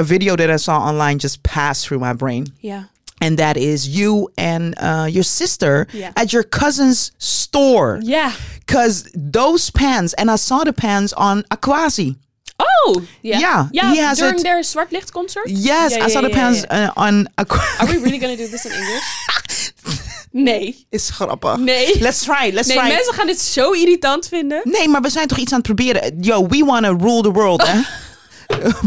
Speaker 2: a video that I saw online, just passed through my brain.
Speaker 1: Ja.
Speaker 2: and that is you and uh, your sister
Speaker 1: Yeah.
Speaker 2: at your cousin's store
Speaker 1: Ja.
Speaker 2: because those pants and i saw the pants on aquasi
Speaker 1: Oh. Ja.
Speaker 2: Ja,
Speaker 1: Ja,
Speaker 2: he has
Speaker 1: during
Speaker 2: it.
Speaker 1: their zwartlichtconcert?
Speaker 2: yes
Speaker 1: Ja,
Speaker 2: i
Speaker 1: ja,
Speaker 2: saw the
Speaker 1: ja, ja,
Speaker 2: pants
Speaker 1: ja.
Speaker 2: Uh, on aquasi [LAUGHS]
Speaker 1: Are we really gonna do this in English? [LAUGHS] nee.
Speaker 2: is grappig
Speaker 1: Nee.
Speaker 2: uh. let's try it, let's
Speaker 1: Nee,
Speaker 2: try it.
Speaker 1: mensen gaan dit zo irritant vinden.
Speaker 2: nee maar we zijn toch iets aan het proberen yo we want to rule the world hè [LAUGHS]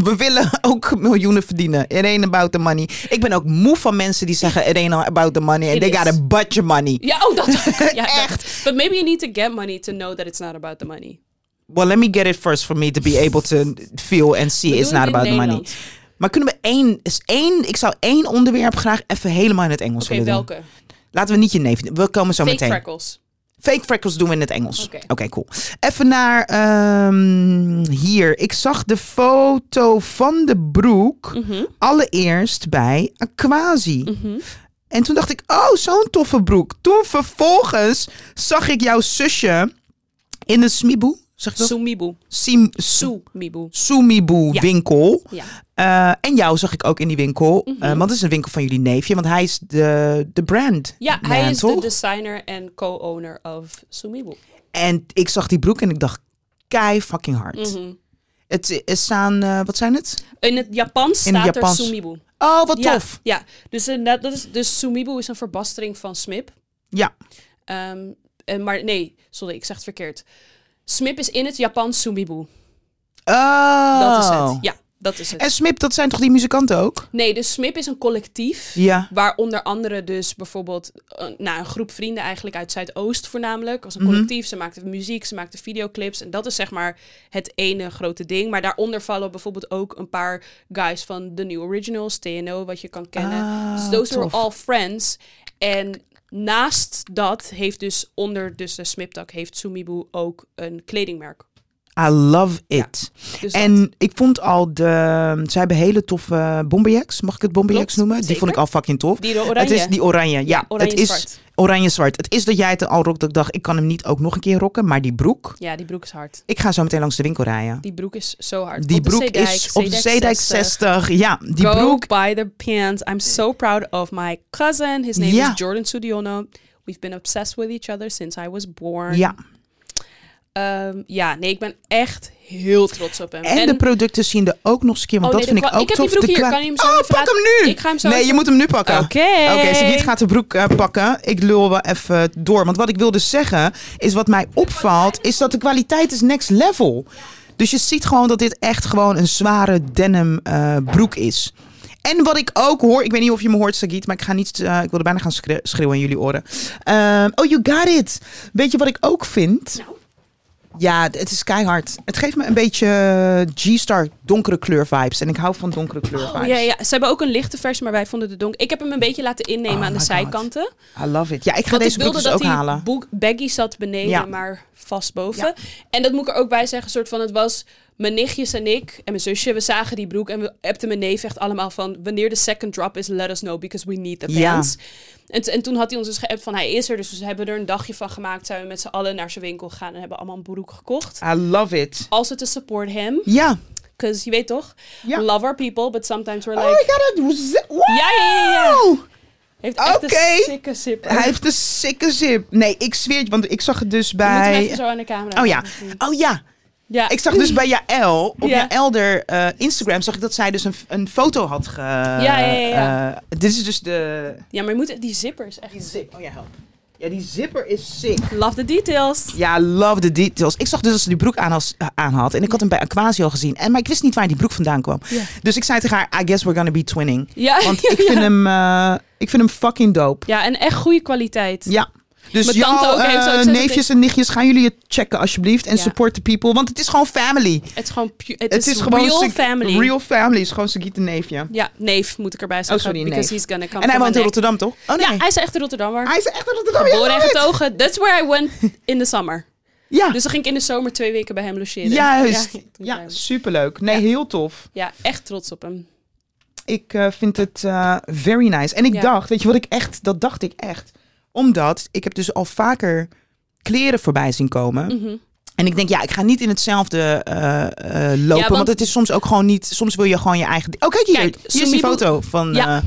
Speaker 2: We willen ook miljoenen verdienen. It ain't about the money. Ik ben ook moe van mensen die zeggen it ain't about the money. And
Speaker 1: It
Speaker 2: they
Speaker 1: is.
Speaker 2: got a budget money.
Speaker 1: Ja, oh, [LAUGHS] dat ook. Ja,
Speaker 2: Echt.
Speaker 1: Dat. But maybe you need to get money to know that it's not about the money.
Speaker 2: Well, let me get it first for me to be able to feel and see
Speaker 1: We
Speaker 2: it's
Speaker 1: doen het
Speaker 2: not
Speaker 1: in
Speaker 2: about the money.
Speaker 1: Nederland.
Speaker 2: Maar kunnen we één, is één, ik zou één onderwerp graag even helemaal in het Engels
Speaker 1: Oké,
Speaker 2: willen doen.
Speaker 1: welke?
Speaker 2: Laten we niet je neef, we komen zo
Speaker 1: Fake
Speaker 2: meteen.
Speaker 1: freckles.
Speaker 2: Fake freckles doen we in het Engels.
Speaker 1: Oké.
Speaker 2: Oké, cool. Even naar ehm, hier. Ik zag de foto van de broek
Speaker 1: Mhm.
Speaker 2: allereerst bij Aquasi. En toen dacht ik, oh, zo'n toffe broek. Toen vervolgens zag ik jouw zusje in de smiboe. Zeg ik dat?
Speaker 1: Soemiboe.
Speaker 2: Sim- Soe-
Speaker 1: Soemiboe.
Speaker 2: Sumibu
Speaker 1: Ja.
Speaker 2: winkel.
Speaker 1: Ja.
Speaker 2: Eh, en jou zag ik ook in die winkel.
Speaker 1: Mhm.
Speaker 2: Eh, want het is een winkel van jullie neefje. Want hij is de, de brand.
Speaker 1: Ja, hij
Speaker 2: man,
Speaker 1: is de
Speaker 2: toch?
Speaker 1: designer en co-owner of Soemiboe.
Speaker 2: En ik zag die broek en ik dacht, kei fucking hard.
Speaker 1: Mhm.
Speaker 2: Het is staan, eh, wat zijn het?
Speaker 1: In het Japans
Speaker 2: In het
Speaker 1: staat er
Speaker 2: Japans.
Speaker 1: Soemiboe.
Speaker 2: Oh, wat
Speaker 1: Ja,
Speaker 2: tof.
Speaker 1: Ja, dus, eh, dat dat is, dus Soemiboe is een verbastering van Smip.
Speaker 2: Ja.
Speaker 1: Ehm, en, maar nee, sorry, ik zeg het verkeerd. Smip is in het Japans Soemiboe.
Speaker 2: Oh.
Speaker 1: Dat is het. Ja, dat is het.
Speaker 2: En Smip, dat zijn toch die muzikanten ook?
Speaker 1: Nee, dus SMIP is een collectief.
Speaker 2: Ja.
Speaker 1: Waar onder andere dus bijvoorbeeld een, nou, een groep vrienden eigenlijk uit Zuidoost voornamelijk. Als een
Speaker 2: Mhm.
Speaker 1: collectief. Ze maakten muziek, ze maakten videoclips. En dat is zeg maar het ene grote ding. Maar daaronder vallen bijvoorbeeld ook een paar guys van The New Originals, TNO, wat je kan kennen.
Speaker 2: Ah,
Speaker 1: dus those
Speaker 2: tof.
Speaker 1: are all friends. En naast dat heeft dus onder dus de SMIP-tak heeft Sumibu ook een kledingmerk.
Speaker 2: I love it.
Speaker 1: Dus dat-
Speaker 2: En ik vond al de... Ze hebben hele toffe bomberjacks. Mag ik het bomberjacks
Speaker 1: Klopt,
Speaker 2: noemen? Die
Speaker 1: zeker.
Speaker 2: vond ik al fucking tof.
Speaker 1: die oranje.
Speaker 2: Het is die oranje. Ja,
Speaker 1: oranje
Speaker 2: het is
Speaker 1: zwart.
Speaker 2: oranje-zwart. Het is dat jij het al rokt. Dat ik dacht, ik kan hem niet ook nog een keer rokken. Maar die broek.
Speaker 1: Ja, die broek is hard.
Speaker 2: Ik ga zo meteen langs de winkel rijden.
Speaker 1: Die broek is zo hard.
Speaker 2: Die
Speaker 1: Op de
Speaker 2: broek
Speaker 1: Zeedijk,
Speaker 2: is op de
Speaker 1: Zeedijk
Speaker 2: Zeedijk 60. Ja, die
Speaker 1: Go
Speaker 2: broek.
Speaker 1: by the pants. I'm so proud of my cousin. His name
Speaker 2: Ja.
Speaker 1: is Jordan Sudiono. We've been obsessed with each other since I was born.
Speaker 2: Ja.
Speaker 1: Ehm, ja, nee, ik ben echt heel trots op hem.
Speaker 2: En, de producten zien er ook nog eens een keer, want
Speaker 1: Oh,
Speaker 2: dat
Speaker 1: nee,
Speaker 2: vind ik
Speaker 1: de
Speaker 2: ook
Speaker 1: kwa- ik heb
Speaker 2: tof.
Speaker 1: die broek hier.
Speaker 2: De kwa-
Speaker 1: Kan je hem zo
Speaker 2: oh,
Speaker 1: even
Speaker 2: pak
Speaker 1: laten-
Speaker 2: hem nu!
Speaker 1: Ik ga hem zo
Speaker 2: nee,
Speaker 1: even-
Speaker 2: je moet hem nu pakken.
Speaker 1: Oké.
Speaker 2: Oké, Sabiet gaat de broek eh, pakken. Ik lul wel even door. Want wat ik wilde zeggen, is wat mij opvalt, is dat de kwaliteit is next level. Dus je ziet gewoon dat dit echt gewoon een zware denim eh, broek is. En wat ik ook hoor, ik weet niet of je me hoort, Sagiet, maar ik ga niet, eh, ik wilde bijna gaan schre- schreeuwen in jullie oren. Ehm, oh, you got it. Weet je wat ik ook vind? Ja, d- het is keihard. Het geeft me een beetje eh, G-Star donkere kleur vibes. En ik hou van donkere kleur vibes.
Speaker 1: Oh, Ja, ja, ze hebben ook een lichte versie, maar wij vonden de donker. Ik heb hem een beetje laten innemen
Speaker 2: Oh
Speaker 1: aan de
Speaker 2: my God.
Speaker 1: zijkanten.
Speaker 2: I love it. Ja, ik ga
Speaker 1: Want ik
Speaker 2: deze broek
Speaker 1: wilde
Speaker 2: dus
Speaker 1: dat
Speaker 2: ook
Speaker 1: die
Speaker 2: halen.
Speaker 1: boek- baggy zat beneden,
Speaker 2: Ja.
Speaker 1: maar vast boven. En dat moet ik er ook bij zeggen, soort van, het was mijn nichtjes en ik en mijn zusje, we zagen die broek en we appten mijn neef echt allemaal van, wanneer de second drop is, let us know, because we need the
Speaker 2: Ja.
Speaker 1: pants. En, t- en toen had hij ons dus geappt van, hij is er, dus we hebben er een dagje van gemaakt, zijn we met z'n allen naar zijn winkel gegaan en hebben allemaal een broek gekocht.
Speaker 2: I love it.
Speaker 1: Also to support him,
Speaker 2: Ja.
Speaker 1: because je weet toch,
Speaker 2: Ja.
Speaker 1: love our people, but sometimes we're
Speaker 2: Oh, ik
Speaker 1: like,
Speaker 2: had het. Wow!
Speaker 1: Ja, ja, ja, ja. heeft echt
Speaker 2: Oké.
Speaker 1: een sikke zipper.
Speaker 2: Hij heeft een sikke zip. Nee, ik zweer het, want ik zag het dus
Speaker 1: Moeten we
Speaker 2: bij...
Speaker 1: even zo aan de camera.
Speaker 2: Oh ja.
Speaker 1: laten zien.
Speaker 2: Oh ja.
Speaker 1: ja.
Speaker 2: Ik zag dus bij Jaël, op
Speaker 1: Ja.
Speaker 2: Jaël der eh, Instagram, zag ik dat zij dus een, een foto had ge... Ja,
Speaker 1: ja, ja.
Speaker 2: dit is dus de...
Speaker 1: Ja, maar je moet die zippers echt.
Speaker 2: Die zip. Oh ja, help. Ja, die zipper is sick.
Speaker 1: Love the details.
Speaker 2: Ja, love the details. Ik zag dus dat ze die broek aan, als, aan had. En ik had hem bij Aquasio gezien. En, maar ik wist niet waar die broek vandaan kwam.
Speaker 1: Ja.
Speaker 2: Dus ik zei tegen haar, I guess we're gonna be twinning.
Speaker 1: Ja,
Speaker 2: Want
Speaker 1: [LAUGHS] ja,
Speaker 2: ik, vind
Speaker 1: ja.
Speaker 2: hem, eh, ik vind hem fucking dope.
Speaker 1: ja, en echt goede kwaliteit.
Speaker 2: Ja. Dus
Speaker 1: Mijn
Speaker 2: jouw
Speaker 1: tante ook heeft
Speaker 2: eh,
Speaker 1: ook zo'n
Speaker 2: neefjes en nichtjes, gaan jullie het checken alsjeblieft. En
Speaker 1: Ja.
Speaker 2: support the people. Want het is gewoon family.
Speaker 1: Het is gewoon pu- het,
Speaker 2: Het
Speaker 1: is,
Speaker 2: is, gewoon...
Speaker 1: real
Speaker 2: Sig-
Speaker 1: family.
Speaker 2: Real family is gewoon Sagiet een neefje.
Speaker 1: Ja, neef moet ik erbij zeggen.
Speaker 2: sorry,
Speaker 1: because
Speaker 2: neef.
Speaker 1: he's gonna come
Speaker 2: En hij
Speaker 1: from
Speaker 2: woont in
Speaker 1: a neck.
Speaker 2: Rotterdam, toch? Oh nee.
Speaker 1: Ja, hij is echt een Rotterdammer.
Speaker 2: hij is echt in Rotterdam.
Speaker 1: Geboren
Speaker 2: ja,
Speaker 1: en
Speaker 2: right.
Speaker 1: getogen. That's where I went in the summer.
Speaker 2: Ja,
Speaker 1: Dus dan ging ik in de zomer twee weken bij hem logeren.
Speaker 2: juist.
Speaker 1: Ja,
Speaker 2: Ja,
Speaker 1: toen zijn we-
Speaker 2: superleuk. Nee,
Speaker 1: Ja.
Speaker 2: heel tof.
Speaker 1: ja, echt trots op hem.
Speaker 2: Ik eh, vind het eh, very nice. En ik
Speaker 1: Ja.
Speaker 2: dacht, weet je wat ik echt, dat dacht ik echt. Omdat ik heb dus al vaker kleren voorbij zien komen.
Speaker 1: Mhm.
Speaker 2: En ik denk, ja, ik ga niet in hetzelfde eh, eh, lopen.
Speaker 1: want-
Speaker 2: want... het is soms ook gewoon niet. Soms wil je gewoon je eigen. Oh, kijk hier.
Speaker 1: Kijk,
Speaker 2: hier is die
Speaker 1: Sumibu-
Speaker 2: foto van. eh,
Speaker 1: Ja.
Speaker 2: Ja.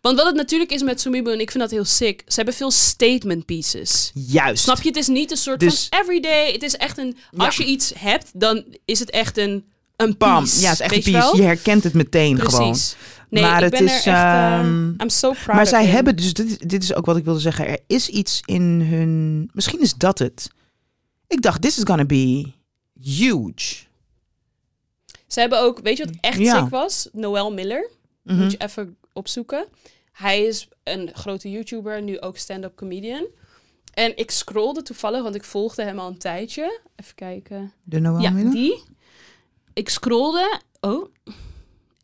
Speaker 1: Want wat het natuurlijk is met Sumibu, en ik vind dat heel sick, ze hebben veel statement pieces.
Speaker 2: juist.
Speaker 1: Snap je? Het is niet een soort
Speaker 2: Dus-
Speaker 1: van everyday. Het is echt een.
Speaker 2: Ja.
Speaker 1: Als je iets hebt, dan is het echt een. Een
Speaker 2: Bam.
Speaker 1: piece.
Speaker 2: Ja, het is echt
Speaker 1: Weet
Speaker 2: een
Speaker 1: je wel?
Speaker 2: piece. Je herkent het meteen gewoon.
Speaker 1: Precies. Nee,
Speaker 2: Maar
Speaker 1: ik
Speaker 2: het
Speaker 1: ben
Speaker 2: is,
Speaker 1: er echt. eh,
Speaker 2: ehm,
Speaker 1: I'm so proud.
Speaker 2: Maar
Speaker 1: of
Speaker 2: zij
Speaker 1: him.
Speaker 2: hebben dus. Dit, dit is ook wat ik wilde zeggen. Er is iets in hun. Misschien is dat het. Ik dacht, this is gonna be huge.
Speaker 1: Ze hebben ook. Weet je wat echt
Speaker 2: Ja.
Speaker 1: sick was? Noel Miller.
Speaker 2: Mhm.
Speaker 1: Moet je even opzoeken. Hij is een grote YouTuber, nu ook stand-up comedian. En ik scrollde toevallig, want ik volgde hem al een tijdje. Even kijken.
Speaker 2: De Noël
Speaker 1: ja,
Speaker 2: Miller?
Speaker 1: die. Ik scrollde. Oh.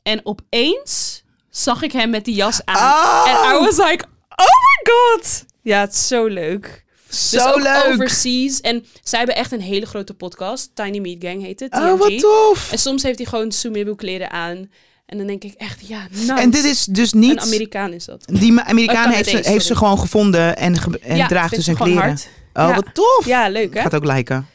Speaker 1: En opeens zag ik hem met die jas aan. En I
Speaker 2: Oh,
Speaker 1: was like, oh my god. Ja, het is zo leuk.
Speaker 2: zo
Speaker 1: Dus ook
Speaker 2: leuk.
Speaker 1: overseas. En zij hebben echt een hele grote podcast. Tiny Meat Gang heet het.
Speaker 2: Oh,
Speaker 1: TMG.
Speaker 2: wat tof.
Speaker 1: En soms heeft hij gewoon Sumibu kleren aan. En dan denk ik echt, ja, nice.
Speaker 2: En dit is dus
Speaker 1: Een
Speaker 2: niet.
Speaker 1: Amerikaan is dat.
Speaker 2: Die ma- Amerikaan
Speaker 1: Oh,
Speaker 2: heeft, ze,
Speaker 1: Canadees,
Speaker 2: heeft ze
Speaker 1: sorry.
Speaker 2: gewoon gevonden en, ge- en
Speaker 1: ja,
Speaker 2: draagt
Speaker 1: vind
Speaker 2: dus
Speaker 1: ze
Speaker 2: zijn
Speaker 1: gewoon
Speaker 2: kleren.
Speaker 1: hard.
Speaker 2: Oh,
Speaker 1: Ja.
Speaker 2: wat tof.
Speaker 1: Ja, leuk hè?
Speaker 2: Gaat ook liken.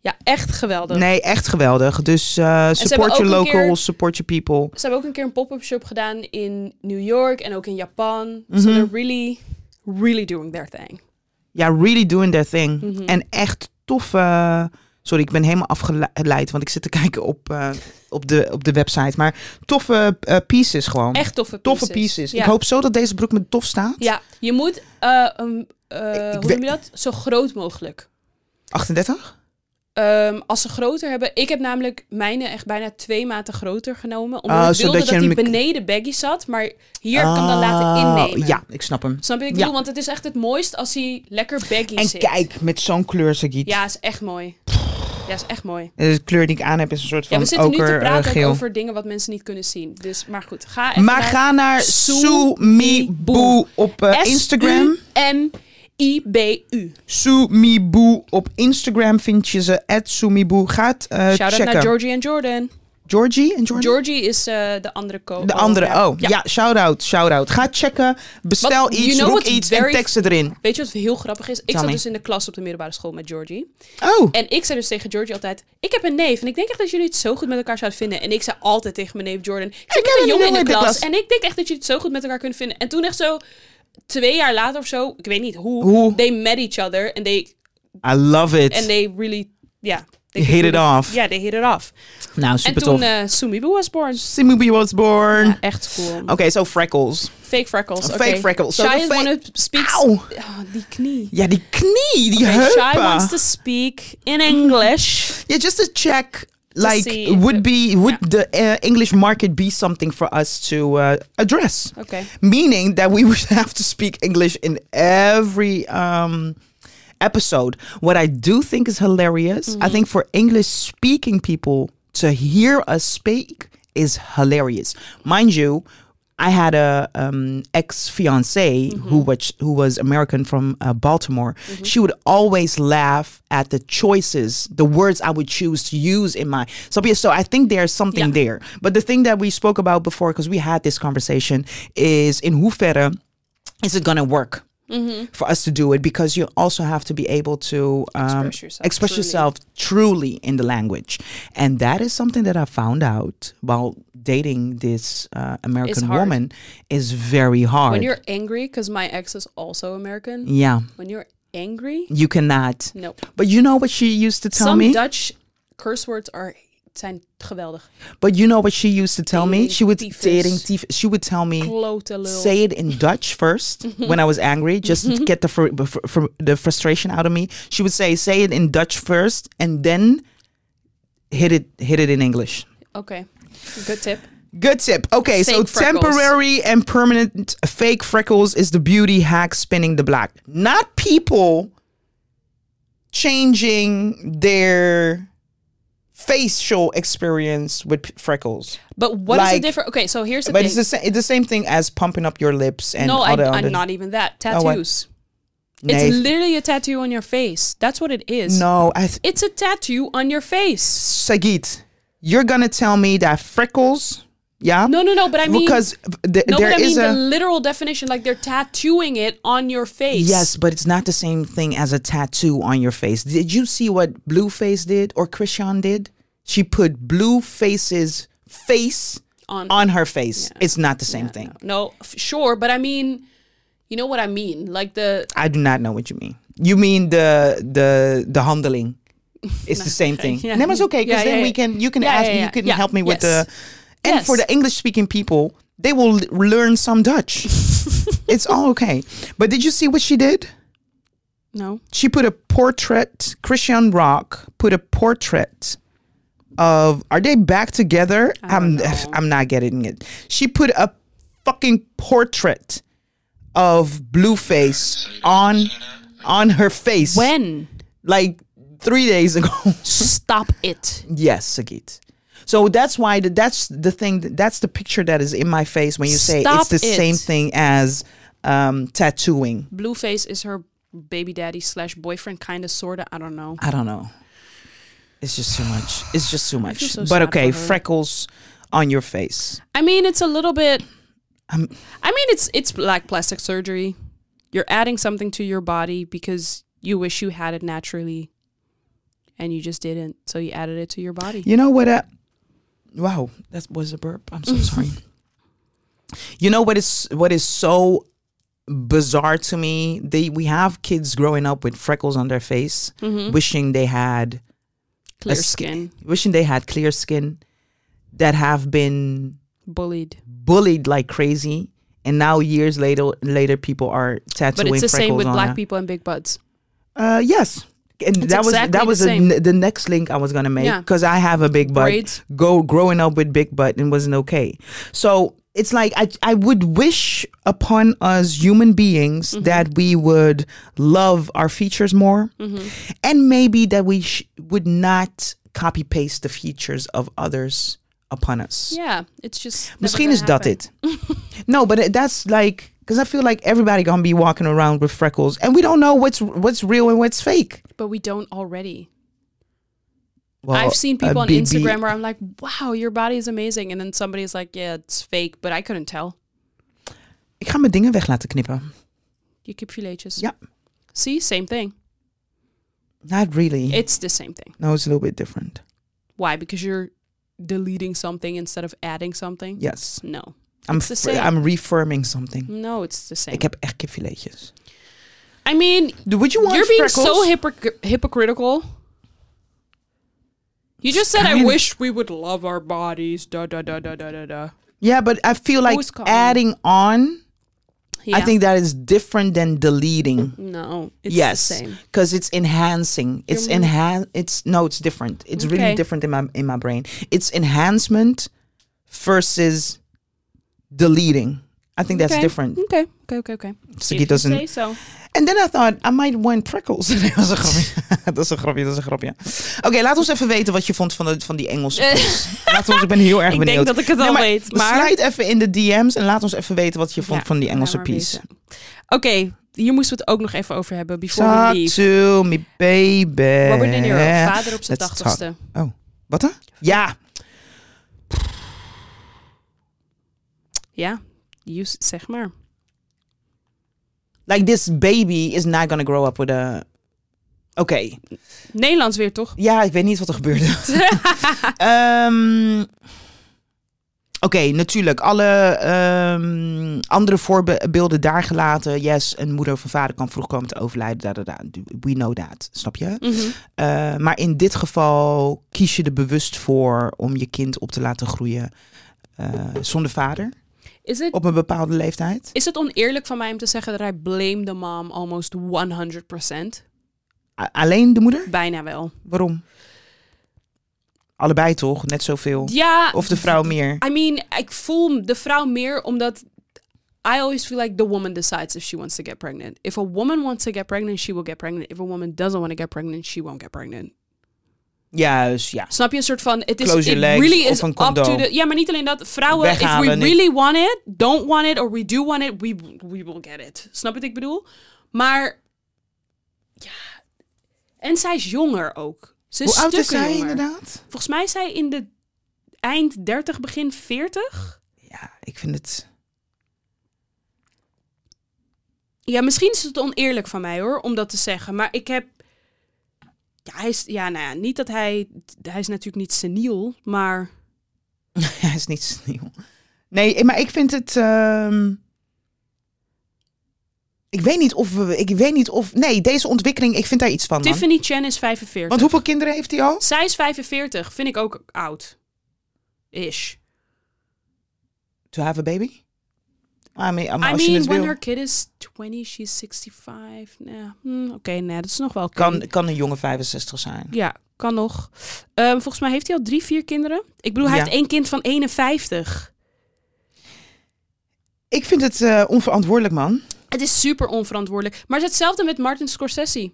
Speaker 1: Ja, echt geweldig.
Speaker 2: Nee, echt geweldig. Dus eh, support
Speaker 1: ook
Speaker 2: your
Speaker 1: een keer-
Speaker 2: locals, support your people.
Speaker 1: Ze hebben ook een keer een pop-up shop gedaan in New York en ook in Japan.
Speaker 2: Mhm.
Speaker 1: So they're really, really doing their thing.
Speaker 2: Ja, really doing their thing.
Speaker 1: Mhm.
Speaker 2: En echt toffe... Sorry, ik ben helemaal afgeleid, want ik zit te kijken op, eh, op, de, op de website. Maar toffe eh, pieces gewoon.
Speaker 1: Echt toffe pieces.
Speaker 2: toffe pieces.
Speaker 1: Ja.
Speaker 2: Ik hoop zo dat deze broek me tof staat.
Speaker 1: Ja, je moet, eh, um, eh,
Speaker 2: Ik
Speaker 1: hoe
Speaker 2: weet-
Speaker 1: noem je dat? Zo groot mogelijk.
Speaker 2: 38?
Speaker 1: Eh, Ehm, als ze groter hebben. Ik heb namelijk mijne echt bijna twee maten groter genomen. Omdat
Speaker 2: Oh,
Speaker 1: ik
Speaker 2: zodat
Speaker 1: wilde dat
Speaker 2: je
Speaker 1: die
Speaker 2: hem-
Speaker 1: beneden baggy zat. Maar hier heb ik hem dan laten
Speaker 2: Ah,
Speaker 1: innemen.
Speaker 2: Ja, ik snap hem.
Speaker 1: Snap je wat ik
Speaker 2: Ja.
Speaker 1: bedoel? Want het is echt het mooist als hij lekker baggy
Speaker 2: En
Speaker 1: zit.
Speaker 2: kijk, met zo'n kleur, Sagiet.
Speaker 1: Ja, is echt mooi. Ja, is echt mooi.
Speaker 2: De kleur die ik aan heb is een soort
Speaker 1: Ja,
Speaker 2: van
Speaker 1: we zitten nu te
Speaker 2: oker, eh,
Speaker 1: praten
Speaker 2: geel.
Speaker 1: over dingen wat mensen niet kunnen zien. Dus, maar goed, ga even
Speaker 2: Maar
Speaker 1: naar
Speaker 2: ga naar
Speaker 1: Sue
Speaker 2: Sumibu
Speaker 1: Mibu.
Speaker 2: op eh, Instagram.
Speaker 1: S-U-M-I-B-U.
Speaker 2: Sumibu op Instagram vind je ze. At Sumibu. Ga het eh,
Speaker 1: Shout out
Speaker 2: checken.
Speaker 1: naar Georgie en Jordan.
Speaker 2: Georgie en Jordan?
Speaker 1: Georgie is eh, de andere co
Speaker 2: De andere,
Speaker 1: ja.
Speaker 2: oh. Ja, shout-out, shout-out. Ga checken, bestel
Speaker 1: Wat-
Speaker 2: iets,
Speaker 1: you know
Speaker 2: roep
Speaker 1: what's
Speaker 2: iets en
Speaker 1: very-
Speaker 2: tekst het erin.
Speaker 1: Weet je wat heel grappig is? Ik
Speaker 2: Tell
Speaker 1: zat
Speaker 2: me.
Speaker 1: dus in de klas op de middelbare school met Georgie.
Speaker 2: Oh,
Speaker 1: En ik zei dus tegen Georgie altijd... Ik heb een neef en ik denk echt dat jullie het zo goed met elkaar zouden vinden. En ik zei altijd tegen mijn neef Jordan... Ik zit met een jongen in de, klas, en ik denk echt dat jullie het zo goed met elkaar kunnen vinden. En toen echt zo twee jaar later of zo... Ik weet niet hoe...
Speaker 2: Hoe?
Speaker 1: They met each other and they,
Speaker 2: I love it.
Speaker 1: and they really... Ja. they
Speaker 2: Hit it
Speaker 1: really-
Speaker 2: off.
Speaker 1: Ja, they hit it off.
Speaker 2: nou, super
Speaker 1: en toen
Speaker 2: tof.
Speaker 1: eh Sumibu was born.
Speaker 2: Simubi was born.
Speaker 1: Ja, echt cool.
Speaker 2: Oké, so freckles.
Speaker 1: Fake freckles.
Speaker 2: Ah, Fake
Speaker 1: oké.
Speaker 2: freckles. So
Speaker 1: Shai
Speaker 2: the
Speaker 1: is
Speaker 2: fa-
Speaker 1: wanna speak...
Speaker 2: Auw.
Speaker 1: Oh, die knie.
Speaker 2: Ja, die knie, die
Speaker 1: Okay, Shai wants
Speaker 2: heupen.
Speaker 1: to speak in English.
Speaker 2: Yeah, just to check, like,
Speaker 1: see
Speaker 2: would
Speaker 1: if-
Speaker 2: be would the eh, English market be something for us to eh, address?
Speaker 1: Oké.
Speaker 2: meaning that we [LAUGHS] would have to speak English in every um, episode. What I do think is hilarious, I think for English speaking people to hear us speak is hilarious. Mind you, I had a um, ex fiance who was who was American from uh, Baltimore. She would always laugh at the choices, the words I would choose to use in my. So, yeah, so I think there's something
Speaker 1: Yeah.
Speaker 2: there there. But the thing that we spoke about before, because we had this conversation, is in hoeverre is it gonna work
Speaker 1: Mm-hmm.
Speaker 2: for us to do it? Because you also have to be able to um,
Speaker 1: Express yourself
Speaker 2: express
Speaker 1: truly.
Speaker 2: yourself truly in the language, and that is something that I found out while dating this uh, American
Speaker 1: hard.
Speaker 2: woman is very hard.
Speaker 1: When you're angry, because my ex is also American.
Speaker 2: yeah,
Speaker 1: When you're angry,
Speaker 2: you cannot.
Speaker 1: no.
Speaker 2: But you know what she used to tell
Speaker 1: Some
Speaker 2: me.
Speaker 1: Dutch curse words are zijn geweldig.
Speaker 2: But you know what she used to tell me.
Speaker 1: Dating
Speaker 2: She would
Speaker 1: tyfus.
Speaker 2: dating. tyf- She would tell me.
Speaker 1: Klote lul.
Speaker 2: say it in Dutch first
Speaker 1: Mm-hmm.
Speaker 2: when I was angry, just to get the fr- fr- fr- the frustration out of me. She would say, "Say it in Dutch first, and then hit it hit it in English."
Speaker 1: Oké, good tip.
Speaker 2: Good tip. Okay, so
Speaker 1: Fake freckles.
Speaker 2: temporary and permanent uh, fake freckles is the beauty hack spinning the block. Not people changing their facial experience with p- freckles.
Speaker 1: But what is the
Speaker 2: Like-
Speaker 1: difference? Okay, so here's the
Speaker 2: But
Speaker 1: thing.
Speaker 2: it's the, sa- it's the same thing as pumping up your lips and
Speaker 1: no, I,
Speaker 2: all the other
Speaker 1: I'm not even that.
Speaker 2: Oh, what?
Speaker 1: Tattoos.
Speaker 2: Nee.
Speaker 1: It's literally a tattoo on your face. That's what it is.
Speaker 2: No, I th-
Speaker 1: It's a tattoo on your face.
Speaker 2: Sagit, you're gonna tell me that freckles, yeah?
Speaker 1: No, no, no. But I mean,
Speaker 2: because th-
Speaker 1: no,
Speaker 2: there
Speaker 1: but I
Speaker 2: is
Speaker 1: mean the
Speaker 2: a
Speaker 1: literal definition. Like they're tattooing it on your face.
Speaker 2: yes, but it's not the same thing as a tattoo on your face. Did you see what Blueface did or Krishan did? She put Blueface's face
Speaker 1: On-
Speaker 2: on her face. It's not the same thing.
Speaker 1: No, f- sure, but I mean, you know what I mean. Like the
Speaker 2: I do not know what you mean. You mean the the the handling? It's
Speaker 1: [LAUGHS]
Speaker 2: the same thing.
Speaker 1: yeah.
Speaker 2: And that was okay because
Speaker 1: Yeah,
Speaker 2: then
Speaker 1: yeah,
Speaker 2: we
Speaker 1: yeah.
Speaker 2: can you can
Speaker 1: Yeah,
Speaker 2: ask
Speaker 1: yeah,
Speaker 2: you
Speaker 1: yeah,
Speaker 2: can
Speaker 1: yeah.
Speaker 2: help me with
Speaker 1: Yes.
Speaker 2: the and for
Speaker 1: Yes.
Speaker 2: the English speaking people they will l- learn some
Speaker 1: [LAUGHS]
Speaker 2: Dutch. it's all okay. But did you see what she did?
Speaker 1: no.
Speaker 2: She put a portrait. Christian Rock put a portrait of. Are they back together? I'm [SIGHS] I'm not getting it. She put a fucking portrait of Blueface on on her face
Speaker 1: When
Speaker 2: like three days ago. [LAUGHS]
Speaker 1: stop it.
Speaker 2: yes, Sagit. So that's why the, that's the thing. That's the picture that is in my face when you say
Speaker 1: Stop
Speaker 2: it's the
Speaker 1: it.
Speaker 2: same thing as um, tattooing.
Speaker 1: Blueface is her baby daddy slash boyfriend, kind of, sorta. I don't know.
Speaker 2: I don't know. It's just too much. It's just too much.
Speaker 1: so
Speaker 2: but
Speaker 1: sad
Speaker 2: okay,
Speaker 1: for her.
Speaker 2: freckles on your face.
Speaker 1: I mean, it's a little bit.
Speaker 2: Um,
Speaker 1: I mean, it's it's like plastic surgery. You're adding something to your body because you wish you had it naturally, and you just didn't. So you added it to your body.
Speaker 2: You know what? I, wow, that was a burp.
Speaker 1: [LAUGHS]
Speaker 2: I'm so sorry. You know what is what is so bizarre to me? They we have kids growing up with freckles on their face,
Speaker 1: Mm-hmm.
Speaker 2: wishing they had
Speaker 1: Clear
Speaker 2: sk-
Speaker 1: skin,
Speaker 2: wishing they had clear skin that have been
Speaker 1: bullied.
Speaker 2: bullied like crazy. And now years later, later people are tattooing
Speaker 1: But it's the
Speaker 2: freckles
Speaker 1: same with
Speaker 2: on
Speaker 1: black
Speaker 2: their-
Speaker 1: people and big butts.
Speaker 2: Uh, yes, and
Speaker 1: It's
Speaker 2: that was
Speaker 1: exactly
Speaker 2: that was
Speaker 1: the
Speaker 2: the,
Speaker 1: same.
Speaker 2: n- the next link I was gonna make
Speaker 1: Yeah.
Speaker 2: because I have a big butt.
Speaker 1: Braids.
Speaker 2: Go growing up with big butt and wasn't okay. So it's like I I would wish upon us human beings
Speaker 1: Mm-hmm.
Speaker 2: that we would love our features more,
Speaker 1: Mm-hmm.
Speaker 2: and maybe that we sh- would not copy paste the features of others upon us.
Speaker 1: Yeah, it's just. never
Speaker 2: Misschien
Speaker 1: gonna
Speaker 2: is dat
Speaker 1: happen.
Speaker 2: het. no, but it- that's like because I feel like everybody gonna be walking around with freckles, and we don't know what's what's real and what's fake.
Speaker 1: But we don't already.
Speaker 2: Well,
Speaker 1: I've seen
Speaker 2: Oh, a
Speaker 1: people on
Speaker 2: big
Speaker 1: Instagram
Speaker 2: B-
Speaker 1: where I'm like, wow, your body is amazing. And then somebody's like, yeah, it's fake, but I couldn't tell.
Speaker 2: Ik ga mijn dingen weg laten knippen.
Speaker 1: Je kipfiletjes.
Speaker 2: Ja.
Speaker 1: See, same thing.
Speaker 2: Not really.
Speaker 1: It's the same thing.
Speaker 2: no, it's a little bit different.
Speaker 1: Why? Because you're deleting something instead of adding something?
Speaker 2: Yes.
Speaker 1: No.
Speaker 2: I'm,
Speaker 1: the
Speaker 2: f-
Speaker 1: same.
Speaker 2: I'm reforming something.
Speaker 1: No, it's the same.
Speaker 2: Ik heb echt kipfiletjes.
Speaker 1: I mean,
Speaker 2: Would you want
Speaker 1: you're being
Speaker 2: freckles?
Speaker 1: so hypocr- hypocritical. You just said, I
Speaker 2: Kinda.
Speaker 1: wish we would love our bodies. Da da da da da da da.
Speaker 2: Yeah, but I feel like
Speaker 1: Who's calling?
Speaker 2: adding on, I
Speaker 1: Yeah.
Speaker 2: think that is different than deleting.
Speaker 1: No, it's
Speaker 2: yes,
Speaker 1: the same.
Speaker 2: because it's enhancing. It's
Speaker 1: You're mo-
Speaker 2: enhan. It's no, it's different. It's really
Speaker 1: Okay.
Speaker 2: different in my in my brain. It's enhancement versus deleting. I think that's
Speaker 1: Okay.
Speaker 2: different.
Speaker 1: Okay, okay, okay, okay.
Speaker 2: So
Speaker 1: If
Speaker 2: he
Speaker 1: you
Speaker 2: doesn't.
Speaker 1: say so.
Speaker 2: And then I thought I might want prikkels. [LAUGHS] dat was een grapje. dat is een grapje. Dat is een grapje. Oké, laat ons even weten wat je vond van, de, van die
Speaker 1: [LAUGHS]
Speaker 2: Engelse quiz. laat ons. Ik ben heel erg
Speaker 1: Ik
Speaker 2: benieuwd.
Speaker 1: denk dat ik het
Speaker 2: Nee,
Speaker 1: al
Speaker 2: maar
Speaker 1: weet, maar...
Speaker 2: Sluit even in de DM's en laat ons even weten wat je vond
Speaker 1: Ja,
Speaker 2: van die Engelse
Speaker 1: laat maar
Speaker 2: piece.
Speaker 1: weten. Oké, hier moesten we het ook nog even over hebben. Before we
Speaker 2: Talk
Speaker 1: leave.
Speaker 2: to me, baby.
Speaker 1: Robert De Niro, vader op zijn
Speaker 2: Eh, Let's talk.
Speaker 1: tachtigste.
Speaker 2: Wat dan? Ja.
Speaker 1: Ja, you s- zeg maar.
Speaker 2: Like this baby is not gonna grow up with a. Oké.
Speaker 1: Nederlands weer, toch?
Speaker 2: Ja, ik weet niet wat er
Speaker 1: [LAUGHS]
Speaker 2: gebeurde. Ehm, Oké, natuurlijk. Alle ehm, andere voorbeelden daar gelaten. Yes, een moeder of een vader kan vroeg komen te overlijden. Da, da, da. We know that. Snap je?
Speaker 1: Mhm.
Speaker 2: Eh, maar in dit geval kies je er bewust voor om je kind op te laten groeien eh, zonder vader.
Speaker 1: Is het
Speaker 2: Op een bepaalde leeftijd.
Speaker 1: is het oneerlijk van mij om te zeggen dat hij blame the mom almost 100%?
Speaker 2: A- alleen de moeder?
Speaker 1: Bijna wel.
Speaker 2: Waarom? Allebei toch? Net zoveel.
Speaker 1: Ja,
Speaker 2: Of de vrouw meer?
Speaker 1: I mean, ik voel de vrouw meer omdat I always feel like the woman decides if she wants to get pregnant. If a woman wants to get pregnant, she will get pregnant. If a woman doesn't want to get pregnant, she won't get pregnant.
Speaker 2: Juist, ja.
Speaker 1: Snap je een soort van het is
Speaker 2: Close
Speaker 1: it
Speaker 2: your legs
Speaker 1: really
Speaker 2: of
Speaker 1: is
Speaker 2: een
Speaker 1: up to
Speaker 2: condoom.
Speaker 1: the ja, maar niet alleen dat vrouwen if
Speaker 2: Weghalen,
Speaker 1: we
Speaker 2: niet.
Speaker 1: really want it, don't want it or we do want it, we we will get it. Snap je wat ik bedoel? Maar ja, en zij is jonger ook. Ze is
Speaker 2: Hoe oud is
Speaker 1: stukken
Speaker 2: zij
Speaker 1: jonger.
Speaker 2: inderdaad?
Speaker 1: Volgens mij is zij in de eind 30, begin 40.
Speaker 2: Ja, ik vind het... [LAUGHS]
Speaker 1: Ja, misschien is het oneerlijk van mij hoor, om dat te zeggen. Maar ik heb. Ja, hij is. Ja, nou ja, niet dat hij. Hij is natuurlijk niet seniel, maar.
Speaker 2: Hij is niet sneeuw. Nee, maar ik vind het... ehm, Ik weet niet of we... Ik weet niet of... Nee, deze ontwikkeling, ik vind daar iets van, man.
Speaker 1: Tiffany Chen is 45.
Speaker 2: Want hoeveel kinderen heeft hij al?
Speaker 1: Zij is 45, vind ik ook oud. Ish.
Speaker 2: To have a baby? I mean, I
Speaker 1: I
Speaker 2: als je
Speaker 1: mean,
Speaker 2: het
Speaker 1: when
Speaker 2: wil.
Speaker 1: her kid is 20, she's 65. Nou, hm, Oké, nee, dat is nog wel. oké.
Speaker 2: Kan, kan een jongen 65 zijn.
Speaker 1: Ja, kan nog. Ehm, volgens mij heeft hij al drie, vier kinderen. Ik bedoel, hij
Speaker 2: Ja.
Speaker 1: heeft één kind van 51.
Speaker 2: Ik vind het eh, onverantwoordelijk, man.
Speaker 1: Het is super onverantwoordelijk. Maar het is hetzelfde met Martin Scorsese.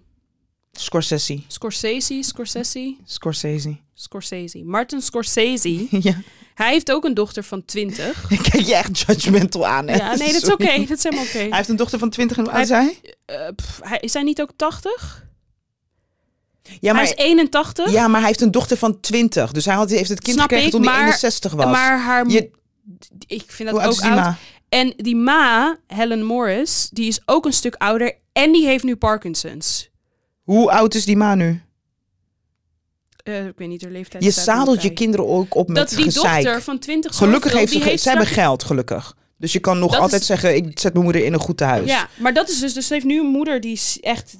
Speaker 2: Scorsese.
Speaker 1: Scorsese, Scorsese.
Speaker 2: Scorsese. [LAUGHS]
Speaker 1: Scorsese. Martin Scorsese.
Speaker 2: ja.
Speaker 1: Hij heeft ook een dochter van
Speaker 2: [LAUGHS]
Speaker 1: 20.
Speaker 2: Ik kijk je echt judgmental aan, hè?
Speaker 1: ja, nee, dat is oké.
Speaker 2: Sorry.
Speaker 1: Dat is helemaal oké.
Speaker 2: Hij heeft een dochter van 20 en hoe
Speaker 1: Hij-
Speaker 2: oud is hij?
Speaker 1: Eh, pff, hij- Is hij niet ook 80?
Speaker 2: Ja,
Speaker 1: hij is 81.
Speaker 2: ja, maar hij heeft een dochter van 20. Dus hij had, heeft het kind
Speaker 1: Snap
Speaker 2: gekregen
Speaker 1: ik,
Speaker 2: toen hij
Speaker 1: maar-
Speaker 2: 61 was.
Speaker 1: Maar haar...
Speaker 2: Je-
Speaker 1: ik vind
Speaker 2: hoe
Speaker 1: dat
Speaker 2: oud is
Speaker 1: ook
Speaker 2: die
Speaker 1: oud.
Speaker 2: ma?
Speaker 1: En die ma, Helen Morris, die is ook een stuk ouder. En die heeft nu Parkinson's.
Speaker 2: Hoe oud is die ma nu?
Speaker 1: Eh, ik weet niet, haar leeftijd
Speaker 2: Je
Speaker 1: staat er
Speaker 2: zadelt
Speaker 1: niet
Speaker 2: je
Speaker 1: bij.
Speaker 2: kinderen ook op
Speaker 1: Dat
Speaker 2: met
Speaker 1: die dochter
Speaker 2: gezeik.
Speaker 1: van 20 zoveel,
Speaker 2: Gelukkig heeft ze,
Speaker 1: die
Speaker 2: ge- ze hebben
Speaker 1: straks-
Speaker 2: geld, gelukkig. Dus je kan nog
Speaker 1: Dat
Speaker 2: altijd
Speaker 1: is-
Speaker 2: zeggen, ik zet mijn moeder in een goed huis.
Speaker 1: Ja, maar dat is dus... Dus ze heeft nu een moeder die is echt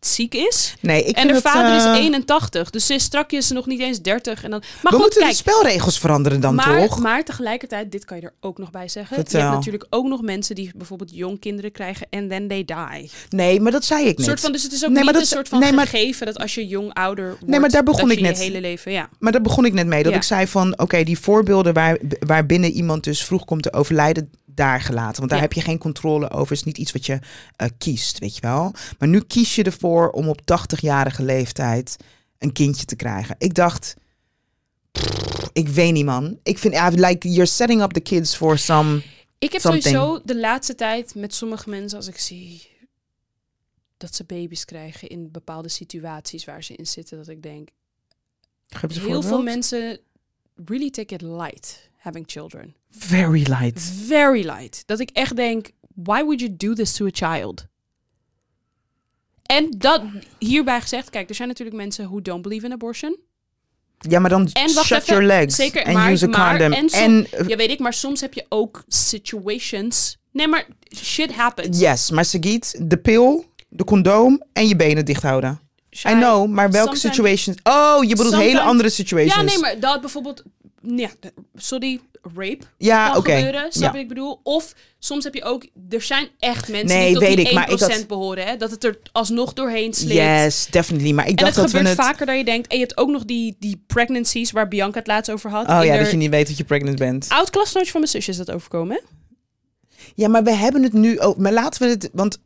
Speaker 1: ziek is.
Speaker 2: Nee, ik
Speaker 1: en
Speaker 2: vind
Speaker 1: haar
Speaker 2: het,
Speaker 1: vader
Speaker 2: eh,
Speaker 1: is 81. Dus ze is strakjes is ze nog niet eens 30. En dan... Maar
Speaker 2: we
Speaker 1: goed,
Speaker 2: moeten
Speaker 1: kijk.
Speaker 2: de spelregels veranderen dan
Speaker 1: maar,
Speaker 2: toch?
Speaker 1: maar tegelijkertijd, dit kan je er ook nog bij zeggen. Je
Speaker 2: Vertel.
Speaker 1: hebt natuurlijk ook nog mensen die bijvoorbeeld jong kinderen krijgen en then they die.
Speaker 2: Nee, maar dat zei ik
Speaker 1: Een
Speaker 2: niet.
Speaker 1: soort van, dus het is ook
Speaker 2: Nee,
Speaker 1: niet
Speaker 2: maar dat
Speaker 1: een
Speaker 2: is-
Speaker 1: soort van
Speaker 2: nee, maar-
Speaker 1: gegeven dat als je jong ouder wordt,
Speaker 2: maar daar begon
Speaker 1: dat
Speaker 2: ik
Speaker 1: je
Speaker 2: net.
Speaker 1: je hele leven, ja.
Speaker 2: Maar daar begon ik net mee. Dat
Speaker 1: Ja.
Speaker 2: ik zei van, oké, die voorbeelden waar, waarbinnen iemand dus vroeg komt te overlijden, daar gelaten. Want daar
Speaker 1: Ja.
Speaker 2: heb je geen controle over. is niet iets wat je eh, kiest, weet je wel. Maar nu kies je ervoor om op 80-jarige leeftijd een kindje te krijgen. Ik dacht, pff, ik weet niet man. Ik vind, ja, like, you're setting up the kids for some...
Speaker 1: Ik heb
Speaker 2: Something.
Speaker 1: sowieso de laatste tijd met sommige mensen, als ik zie dat ze baby's krijgen in bepaalde situaties waar ze in zitten, dat ik denk,
Speaker 2: Geef eens een
Speaker 1: heel veel
Speaker 2: voorbeeld.
Speaker 1: mensen really take it light having children.
Speaker 2: Very light.
Speaker 1: Very light. Dat ik echt denk, why would you do this to a child? En dat hierbij gezegd, kijk, er zijn natuurlijk mensen who don't believe in abortion.
Speaker 2: Ja, maar dan
Speaker 1: En wacht
Speaker 2: shut
Speaker 1: even,
Speaker 2: your legs
Speaker 1: zeker,
Speaker 2: and
Speaker 1: maar-
Speaker 2: use a
Speaker 1: maar-
Speaker 2: condom.
Speaker 1: en som-
Speaker 2: en eh,
Speaker 1: Ja, weet ik, maar soms heb je ook situations. Nee, maar shit happens.
Speaker 2: Yes, maar Sagiet, de pil, de condoom en je benen dicht houden. I know, maar welke
Speaker 1: sometimes-
Speaker 2: situations? Oh, je bedoelt hele
Speaker 1: sometimes-
Speaker 2: andere situations.
Speaker 1: Ja, nee, maar dat bijvoorbeeld, ja, sorry, rape
Speaker 2: Ja,
Speaker 1: kan
Speaker 2: Ah, oké,
Speaker 1: gebeuren, snap
Speaker 2: ja.
Speaker 1: je wat ik bedoel? Of soms heb je ook, er zijn echt mensen
Speaker 2: Nee,
Speaker 1: die tot
Speaker 2: weet
Speaker 1: die
Speaker 2: ik, maar ik
Speaker 1: 1%
Speaker 2: had-
Speaker 1: behoren, hè? Dat het er alsnog doorheen sleept.
Speaker 2: Yes, definitely. Maar ik
Speaker 1: En het
Speaker 2: dacht dat we
Speaker 1: gebeurt
Speaker 2: het...
Speaker 1: vaker dan je denkt. En je hebt ook nog die, die pregnancies waar Bianca het laatst over had.
Speaker 2: Oh
Speaker 1: in
Speaker 2: ja,
Speaker 1: haar-
Speaker 2: dat je niet weet dat je pregnant bent.
Speaker 1: Oud klasnootje van mijn zusje is dat overkomen, hè?
Speaker 2: Ja, maar we hebben het nu ook... Maar laten we het... Want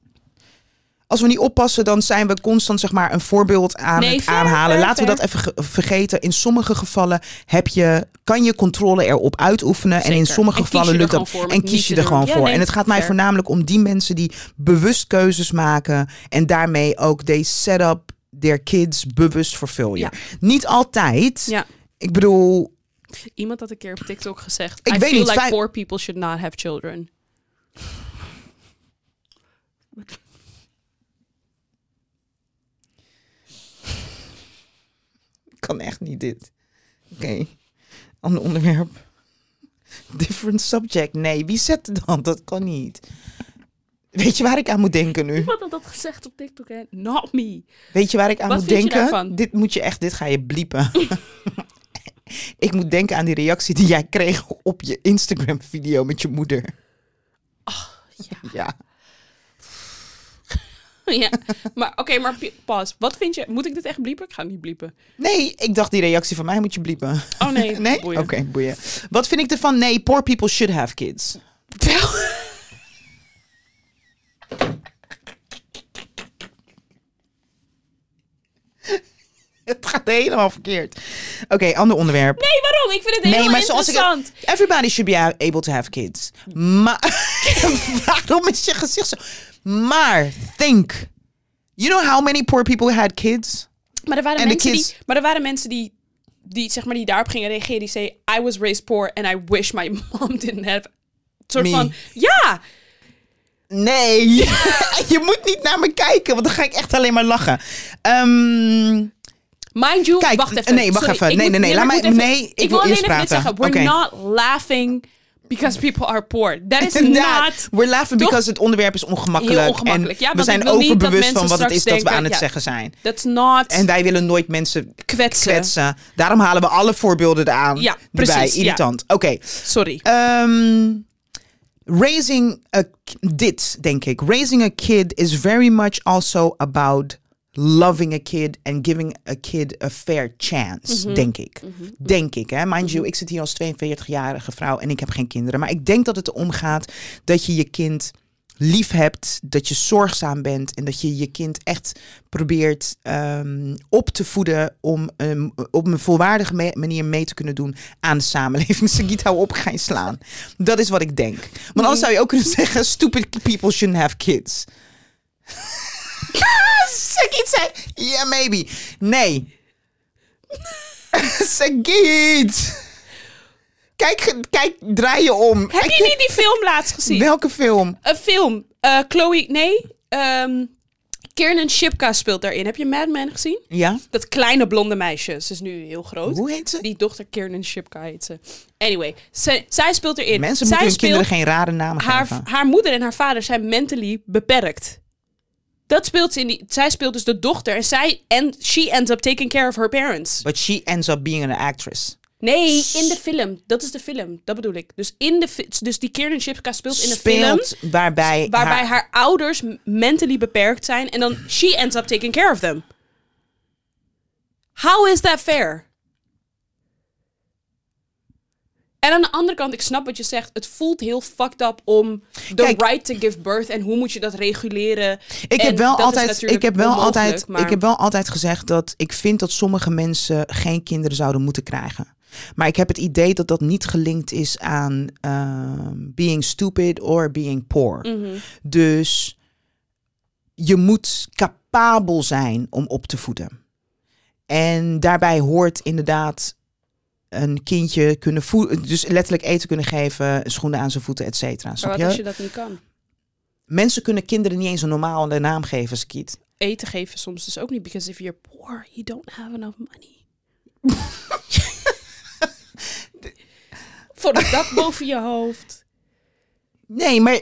Speaker 2: als we niet oppassen, dan zijn we constant zeg maar een voorbeeld aan
Speaker 1: Nee,
Speaker 2: het
Speaker 1: fair,
Speaker 2: aanhalen.
Speaker 1: fair,
Speaker 2: Laten we dat even ge- vergeten. In sommige gevallen heb je, kan je controle erop uitoefenen. En in
Speaker 1: Zeker.
Speaker 2: sommige
Speaker 1: En kies
Speaker 2: gevallen
Speaker 1: je er
Speaker 2: lukt dat.
Speaker 1: gewoon voor om
Speaker 2: en
Speaker 1: het
Speaker 2: kies
Speaker 1: niet
Speaker 2: je
Speaker 1: te
Speaker 2: er gewoon
Speaker 1: doen. Ja,
Speaker 2: voor.
Speaker 1: nee,
Speaker 2: en het gaat mij
Speaker 1: fair.
Speaker 2: voornamelijk om die mensen die bewust keuzes maken. En daarmee ook deze setup their kids bewust vervullen.
Speaker 1: Ja.
Speaker 2: Niet altijd.
Speaker 1: Ja.
Speaker 2: Ik bedoel,
Speaker 1: Iemand had een keer op TikTok gezegd...
Speaker 2: Ik
Speaker 1: I
Speaker 2: weet
Speaker 1: feel
Speaker 2: niet,
Speaker 1: like
Speaker 2: fijn-
Speaker 1: poor people should not have children.
Speaker 2: Ik kan echt niet dit. Oké, ander onderwerp. Different subject. Nee, wie zet het dan? Dat kan niet. Weet je waar ik aan moet denken nu?
Speaker 1: Iemand had dat gezegd op TikTok, hè? Not me.
Speaker 2: Weet je waar ik aan
Speaker 1: Wat
Speaker 2: moet
Speaker 1: vind je
Speaker 2: denken?
Speaker 1: daarvan?
Speaker 2: Dit moet je echt, dit ga je bliepen. [LAUGHS] ik moet denken aan die reactie die jij kreeg op je Instagram video met je moeder. [LAUGHS] ja.
Speaker 1: [LAUGHS] ja, maar oké, maar pi- pas. Wat vind je... Moet ik dit echt bliepen? Ik ga het niet bliepen.
Speaker 2: Nee, ik dacht die reactie van mij moet je bliepen.
Speaker 1: Oh nee,
Speaker 2: [LAUGHS] Nee? Oké,
Speaker 1: boeien.
Speaker 2: boeien. Wat vind ik ervan? Nee, poor people should have kids.
Speaker 1: Wel-
Speaker 2: [LAUGHS] Het gaat helemaal verkeerd. Oké, ander onderwerp.
Speaker 1: Nee, waarom? Ik vind het heel interessant.
Speaker 2: ik. Everybody should be able to have kids. Maar. [LAUGHS] waarom is je gezicht zo. Maar, think. You know how many poor people had kids?
Speaker 1: Maar er waren
Speaker 2: En de
Speaker 1: mensen
Speaker 2: kids-
Speaker 1: die, maar er waren mensen die, die, zeg maar, die daarop gingen reageren. Die zeiden, I was raised poor and I wish my [LAUGHS] mom didn't have... Een soort
Speaker 2: Me.
Speaker 1: van, ja!
Speaker 2: Nee. [LAUGHS] je moet niet naar me kijken, want dan ga ik echt alleen maar lachen. Ehm,
Speaker 1: Mind you,
Speaker 2: Kijk,
Speaker 1: wacht even.
Speaker 2: nee, wacht
Speaker 1: Sorry,
Speaker 2: even.
Speaker 1: ik
Speaker 2: Nee,
Speaker 1: moet-
Speaker 2: nee, nee,
Speaker 1: maar
Speaker 2: laat
Speaker 1: ik
Speaker 2: mij-
Speaker 1: moet even-
Speaker 2: nee, ik
Speaker 1: ik
Speaker 2: wil
Speaker 1: wil alleen
Speaker 2: eerst
Speaker 1: even dit
Speaker 2: praten.
Speaker 1: zeggen. We're
Speaker 2: Oké.
Speaker 1: not laughing because people are poor. That is
Speaker 2: [LAUGHS] inderdaad.
Speaker 1: not...
Speaker 2: We're laughing
Speaker 1: Toch?
Speaker 2: because het onderwerp is ongemakkelijk.
Speaker 1: Heel ongemakkelijk.
Speaker 2: En
Speaker 1: Ja,
Speaker 2: we
Speaker 1: want ik
Speaker 2: zijn
Speaker 1: wil niet dat
Speaker 2: overbewust van
Speaker 1: mensen
Speaker 2: wat het is
Speaker 1: straks
Speaker 2: dat
Speaker 1: denken,
Speaker 2: we aan het
Speaker 1: ja.
Speaker 2: zeggen zijn.
Speaker 1: That's not
Speaker 2: En wij willen nooit mensen
Speaker 1: kwetsen.
Speaker 2: kwetsen. Daarom halen we alle voorbeelden eraan.
Speaker 1: Ja,
Speaker 2: erbij.
Speaker 1: precies, ja.
Speaker 2: Irritant. Oké.
Speaker 1: Sorry.
Speaker 2: Ehm, raising a k- dit denk ik. Raising a kid is very much also about loving a kid and giving a kid a fair chance,
Speaker 1: Mhm.
Speaker 2: denk ik. Denk ik, hè. Mind you, ik zit hier als 42-jarige vrouw en ik heb geen kinderen. Maar ik denk dat het erom gaat dat je je kind lief hebt, dat je zorgzaam bent en dat je je kind echt probeert ehm, op te voeden om ehm, op een volwaardige me- manier mee te kunnen doen aan de samenleving. [LAUGHS] Sagiet, hou op, ga je slaan. Dat is wat ik denk. Want anders zou je ook kunnen zeggen, stupid people shouldn't have kids. [LAUGHS] Sagiet zei, yeah maybe. Nee. [LAUGHS] Sagiet. Kijk, ge- kijk, draai je om.
Speaker 1: Heb je niet die film laatst gezien?
Speaker 2: Welke film?
Speaker 1: Een film. Eh, Chloe... Nee. ehm Kiernan Shipka speelt daarin. Heb je Mad Men gezien?
Speaker 2: Ja?
Speaker 1: Dat kleine blonde meisje. Ze is nu heel groot.
Speaker 2: Hoe heet ze?
Speaker 1: Die dochter Kiernan Shipka heet ze. Anyway, zij- zij speelt erin.
Speaker 2: Mensen
Speaker 1: zij
Speaker 2: moeten hun
Speaker 1: speelt
Speaker 2: kinderen geen rare namen
Speaker 1: haar,
Speaker 2: geven.
Speaker 1: haar moeder en haar vader zijn mentally beperkt. Dat speelt ze in die... Zij speelt dus de dochter. En zij... En she ends up taking care of her parents.
Speaker 2: But she ends up being an actress.
Speaker 1: Nee, in de film. Dat is de film. Dat bedoel ik. Dus, in de fi- dus die Kiernan Shipka speelt in de film...
Speaker 2: Speelt waarbij,
Speaker 1: Waarbij haar,
Speaker 2: haar-
Speaker 1: ouders m- mentally beperkt zijn. En dan she ends up taking care of them. How is that fair? En aan de andere kant, ik snap wat je zegt. Het voelt heel fucked up om the
Speaker 2: Kijk.
Speaker 1: right to give birth. En hoe moet je dat reguleren?
Speaker 2: Ik
Speaker 1: En
Speaker 2: heb, wel
Speaker 1: dat is
Speaker 2: altijd, ik,
Speaker 1: natuurlijk
Speaker 2: heb wel
Speaker 1: onmogelijk,
Speaker 2: altijd,
Speaker 1: maar-
Speaker 2: ik heb wel altijd gezegd dat ik vind dat sommige mensen geen kinderen zouden moeten krijgen. Maar ik heb het idee dat dat niet gelinkt is aan ehm, being stupid or being poor.
Speaker 1: Mhm.
Speaker 2: Dus je moet capabel zijn om op te voeden. En daarbij hoort inderdaad een kindje kunnen voeden. Dus letterlijk eten kunnen geven, schoenen aan zijn voeten, et cetera.
Speaker 1: Maar
Speaker 2: Snap
Speaker 1: wat
Speaker 2: je?
Speaker 1: als je dat niet kan?
Speaker 2: Mensen kunnen kinderen niet eens een normale naam geven, Skiet.
Speaker 1: Eten geven soms dus ook niet. Because if you're poor, you don't have enough
Speaker 2: [LAUGHS]
Speaker 1: money. Voor de dak boven je hoofd.
Speaker 2: Nee, maar.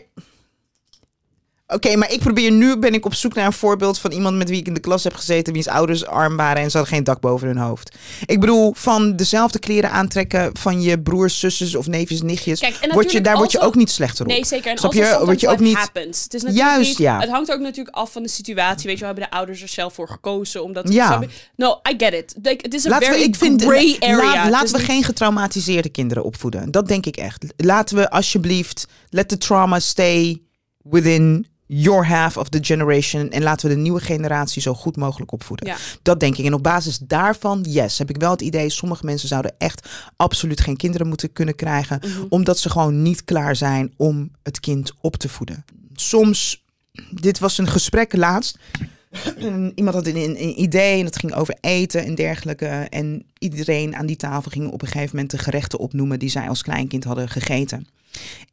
Speaker 2: Oké, maar ik probeer nu ben ik op zoek naar een voorbeeld van iemand met wie ik in de klas heb gezeten, wiens ouders arm waren en ze hadden geen dak boven hun hoofd. Ik bedoel, van dezelfde kleren aantrekken van je broers, zussen of neefjes, nichtjes.
Speaker 1: Kijk, en
Speaker 2: word je,
Speaker 1: natuurlijk
Speaker 2: daar word je
Speaker 1: also-
Speaker 2: ook niet slechter op.
Speaker 1: Nee, zeker. En
Speaker 2: Snap
Speaker 1: als
Speaker 2: je? Word je ook niet.
Speaker 1: happens. Het is natuurlijk
Speaker 2: Juist,
Speaker 1: niet-
Speaker 2: ja.
Speaker 1: Het hangt ook natuurlijk af van de situatie. Weet je, wel, hebben de ouders er zelf voor gekozen? Omdat
Speaker 2: Ja.
Speaker 1: snap je? No, I get it. Like, het is een
Speaker 2: Laten we,
Speaker 1: very
Speaker 2: ik vind,
Speaker 1: gray area.
Speaker 2: la-
Speaker 1: Dus Het is
Speaker 2: laten we
Speaker 1: niet-
Speaker 2: geen getraumatiseerde kinderen opvoeden. Dat denk ik echt. Laten we alsjeblieft, let the trauma stay within your half of the generation. En laten we de nieuwe generatie zo goed mogelijk opvoeden.
Speaker 1: Ja.
Speaker 2: Dat denk ik. En op basis daarvan, yes, heb ik wel het idee... sommige mensen zouden echt absoluut geen kinderen moeten kunnen krijgen... omdat ze gewoon niet klaar zijn om het kind op te voeden. Soms, dit was een gesprek laatst... [CLEARS THROAT] En iemand had een, een- een idee en het ging over eten en dergelijke. En iedereen aan die tafel ging op een gegeven moment de gerechten opnoemen die zij als kleinkind hadden gegeten.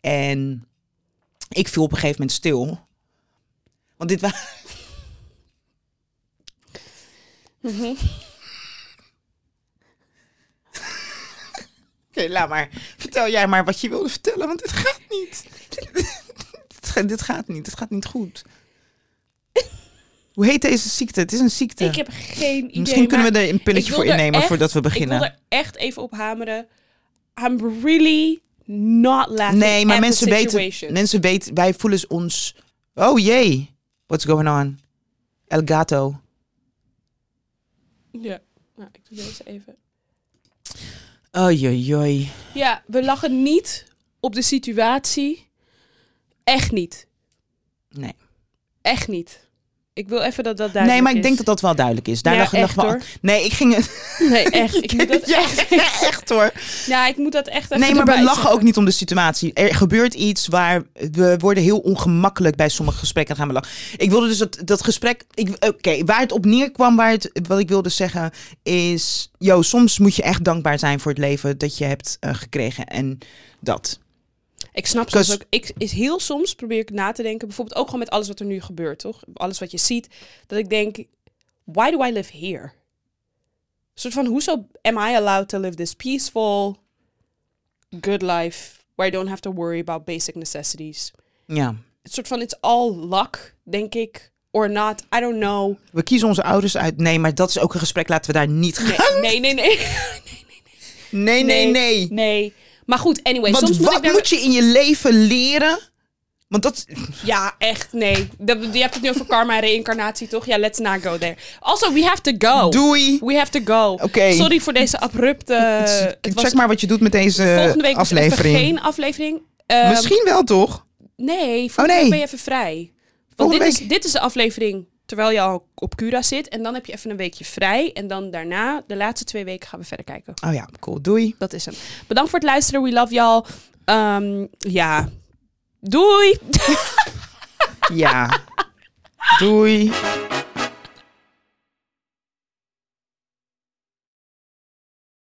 Speaker 2: En ik viel op een gegeven moment stil. Want dit was. [LAUGHS] Oké, laat maar. Vertel jij maar wat je wilde vertellen, want dit gaat niet. dit, ga- dit gaat niet. Dit gaat niet goed. Hoe heet deze ziekte? Het is een ziekte.
Speaker 1: Ik heb geen idee.
Speaker 2: Misschien kunnen we er een
Speaker 1: ik
Speaker 2: pilletje
Speaker 1: wil
Speaker 2: voor
Speaker 1: er
Speaker 2: innemen
Speaker 1: echt-
Speaker 2: voordat we
Speaker 1: Ik wil
Speaker 2: beginnen.
Speaker 1: er echt even op hameren. I'm really not laughing
Speaker 2: Nee, maar
Speaker 1: at the
Speaker 2: mensen weten,
Speaker 1: situation.
Speaker 2: mensen weten, wij voelen ons. Oh jee, what's going on? El gato.
Speaker 1: Ja. Nou, ik doe deze even.
Speaker 2: Oh joi, joi.
Speaker 1: Ja, we lachen niet op de situatie. Echt niet.
Speaker 2: Nee.
Speaker 1: Echt niet. Ik wil even dat dat duidelijk
Speaker 2: nee, maar ik
Speaker 1: is.
Speaker 2: denk dat dat wel duidelijk is. Daar
Speaker 1: Ja,
Speaker 2: lag, lag
Speaker 1: echt,
Speaker 2: wel.
Speaker 1: hoor.
Speaker 2: Nee, ik ging.
Speaker 1: Nee, echt. Ik moet [LAUGHS] dat
Speaker 2: [LAUGHS] Ja,
Speaker 1: echt.
Speaker 2: echt hoor.
Speaker 1: Ja, ik moet dat echt even
Speaker 2: Nee, maar we
Speaker 1: erbij
Speaker 2: lachen
Speaker 1: zeggen.
Speaker 2: ook niet om de situatie. Er gebeurt iets waar we worden heel ongemakkelijk bij sommige gesprekken gaan we lachen. Ik wilde dus dat, dat gesprek. ik- Oké, waar het op neerkwam, waar het, wat ik wilde zeggen, is. Yo, soms moet je echt dankbaar zijn voor het leven dat je hebt eh, gekregen. En dat.
Speaker 1: Ik snap soms
Speaker 2: Because-
Speaker 1: ook. Ik is heel soms probeer ik na te denken. Bijvoorbeeld ook gewoon met alles wat er nu gebeurt, toch? Alles wat je ziet. Dat ik denk, why do I live here? Een soort van, hoezo am I allowed to live this peaceful, good life, where I don't have to worry about basic necessities?
Speaker 2: Ja.
Speaker 1: Een soort van, it's all luck, denk ik. Or not, I don't know.
Speaker 2: We kiezen onze ouders uit. Nee, maar dat is ook een gesprek. Laten we daar niet
Speaker 1: [LAUGHS]
Speaker 2: gaan.
Speaker 1: Nee, nee, nee.
Speaker 2: Nee, nee, nee.
Speaker 1: Nee. Maar goed, anyway.
Speaker 2: Want
Speaker 1: soms moet ik
Speaker 2: wat
Speaker 1: daar-
Speaker 2: moet je in je leven leren? Want dat.
Speaker 1: Ja, echt, nee. Dat, je hebt het nu over karma en reïncarnatie, toch? Ja, let's not go there. Also, we have to go.
Speaker 2: Doei.
Speaker 1: We have to go.
Speaker 2: Oké.
Speaker 1: Sorry voor deze abrupte... Eh, het was
Speaker 2: Check maar wat je doet met deze
Speaker 1: volgende week dus even
Speaker 2: aflevering.
Speaker 1: geen aflevering. Ehm,
Speaker 2: Misschien wel toch?
Speaker 1: Nee, volgende
Speaker 2: nee.
Speaker 1: week ben je even vrij. Want
Speaker 2: Volgende
Speaker 1: dit is,
Speaker 2: week-
Speaker 1: dit is de aflevering terwijl je al op Cura zit. En dan heb je even een weekje vrij. En dan daarna, de laatste twee weken, gaan we verder kijken.
Speaker 2: Oh ja, cool. Doei.
Speaker 1: Dat is hem. Bedankt voor het luisteren. We love y'all. Ehm, ja. Doei! [LAUGHS]
Speaker 2: Ja. Doei.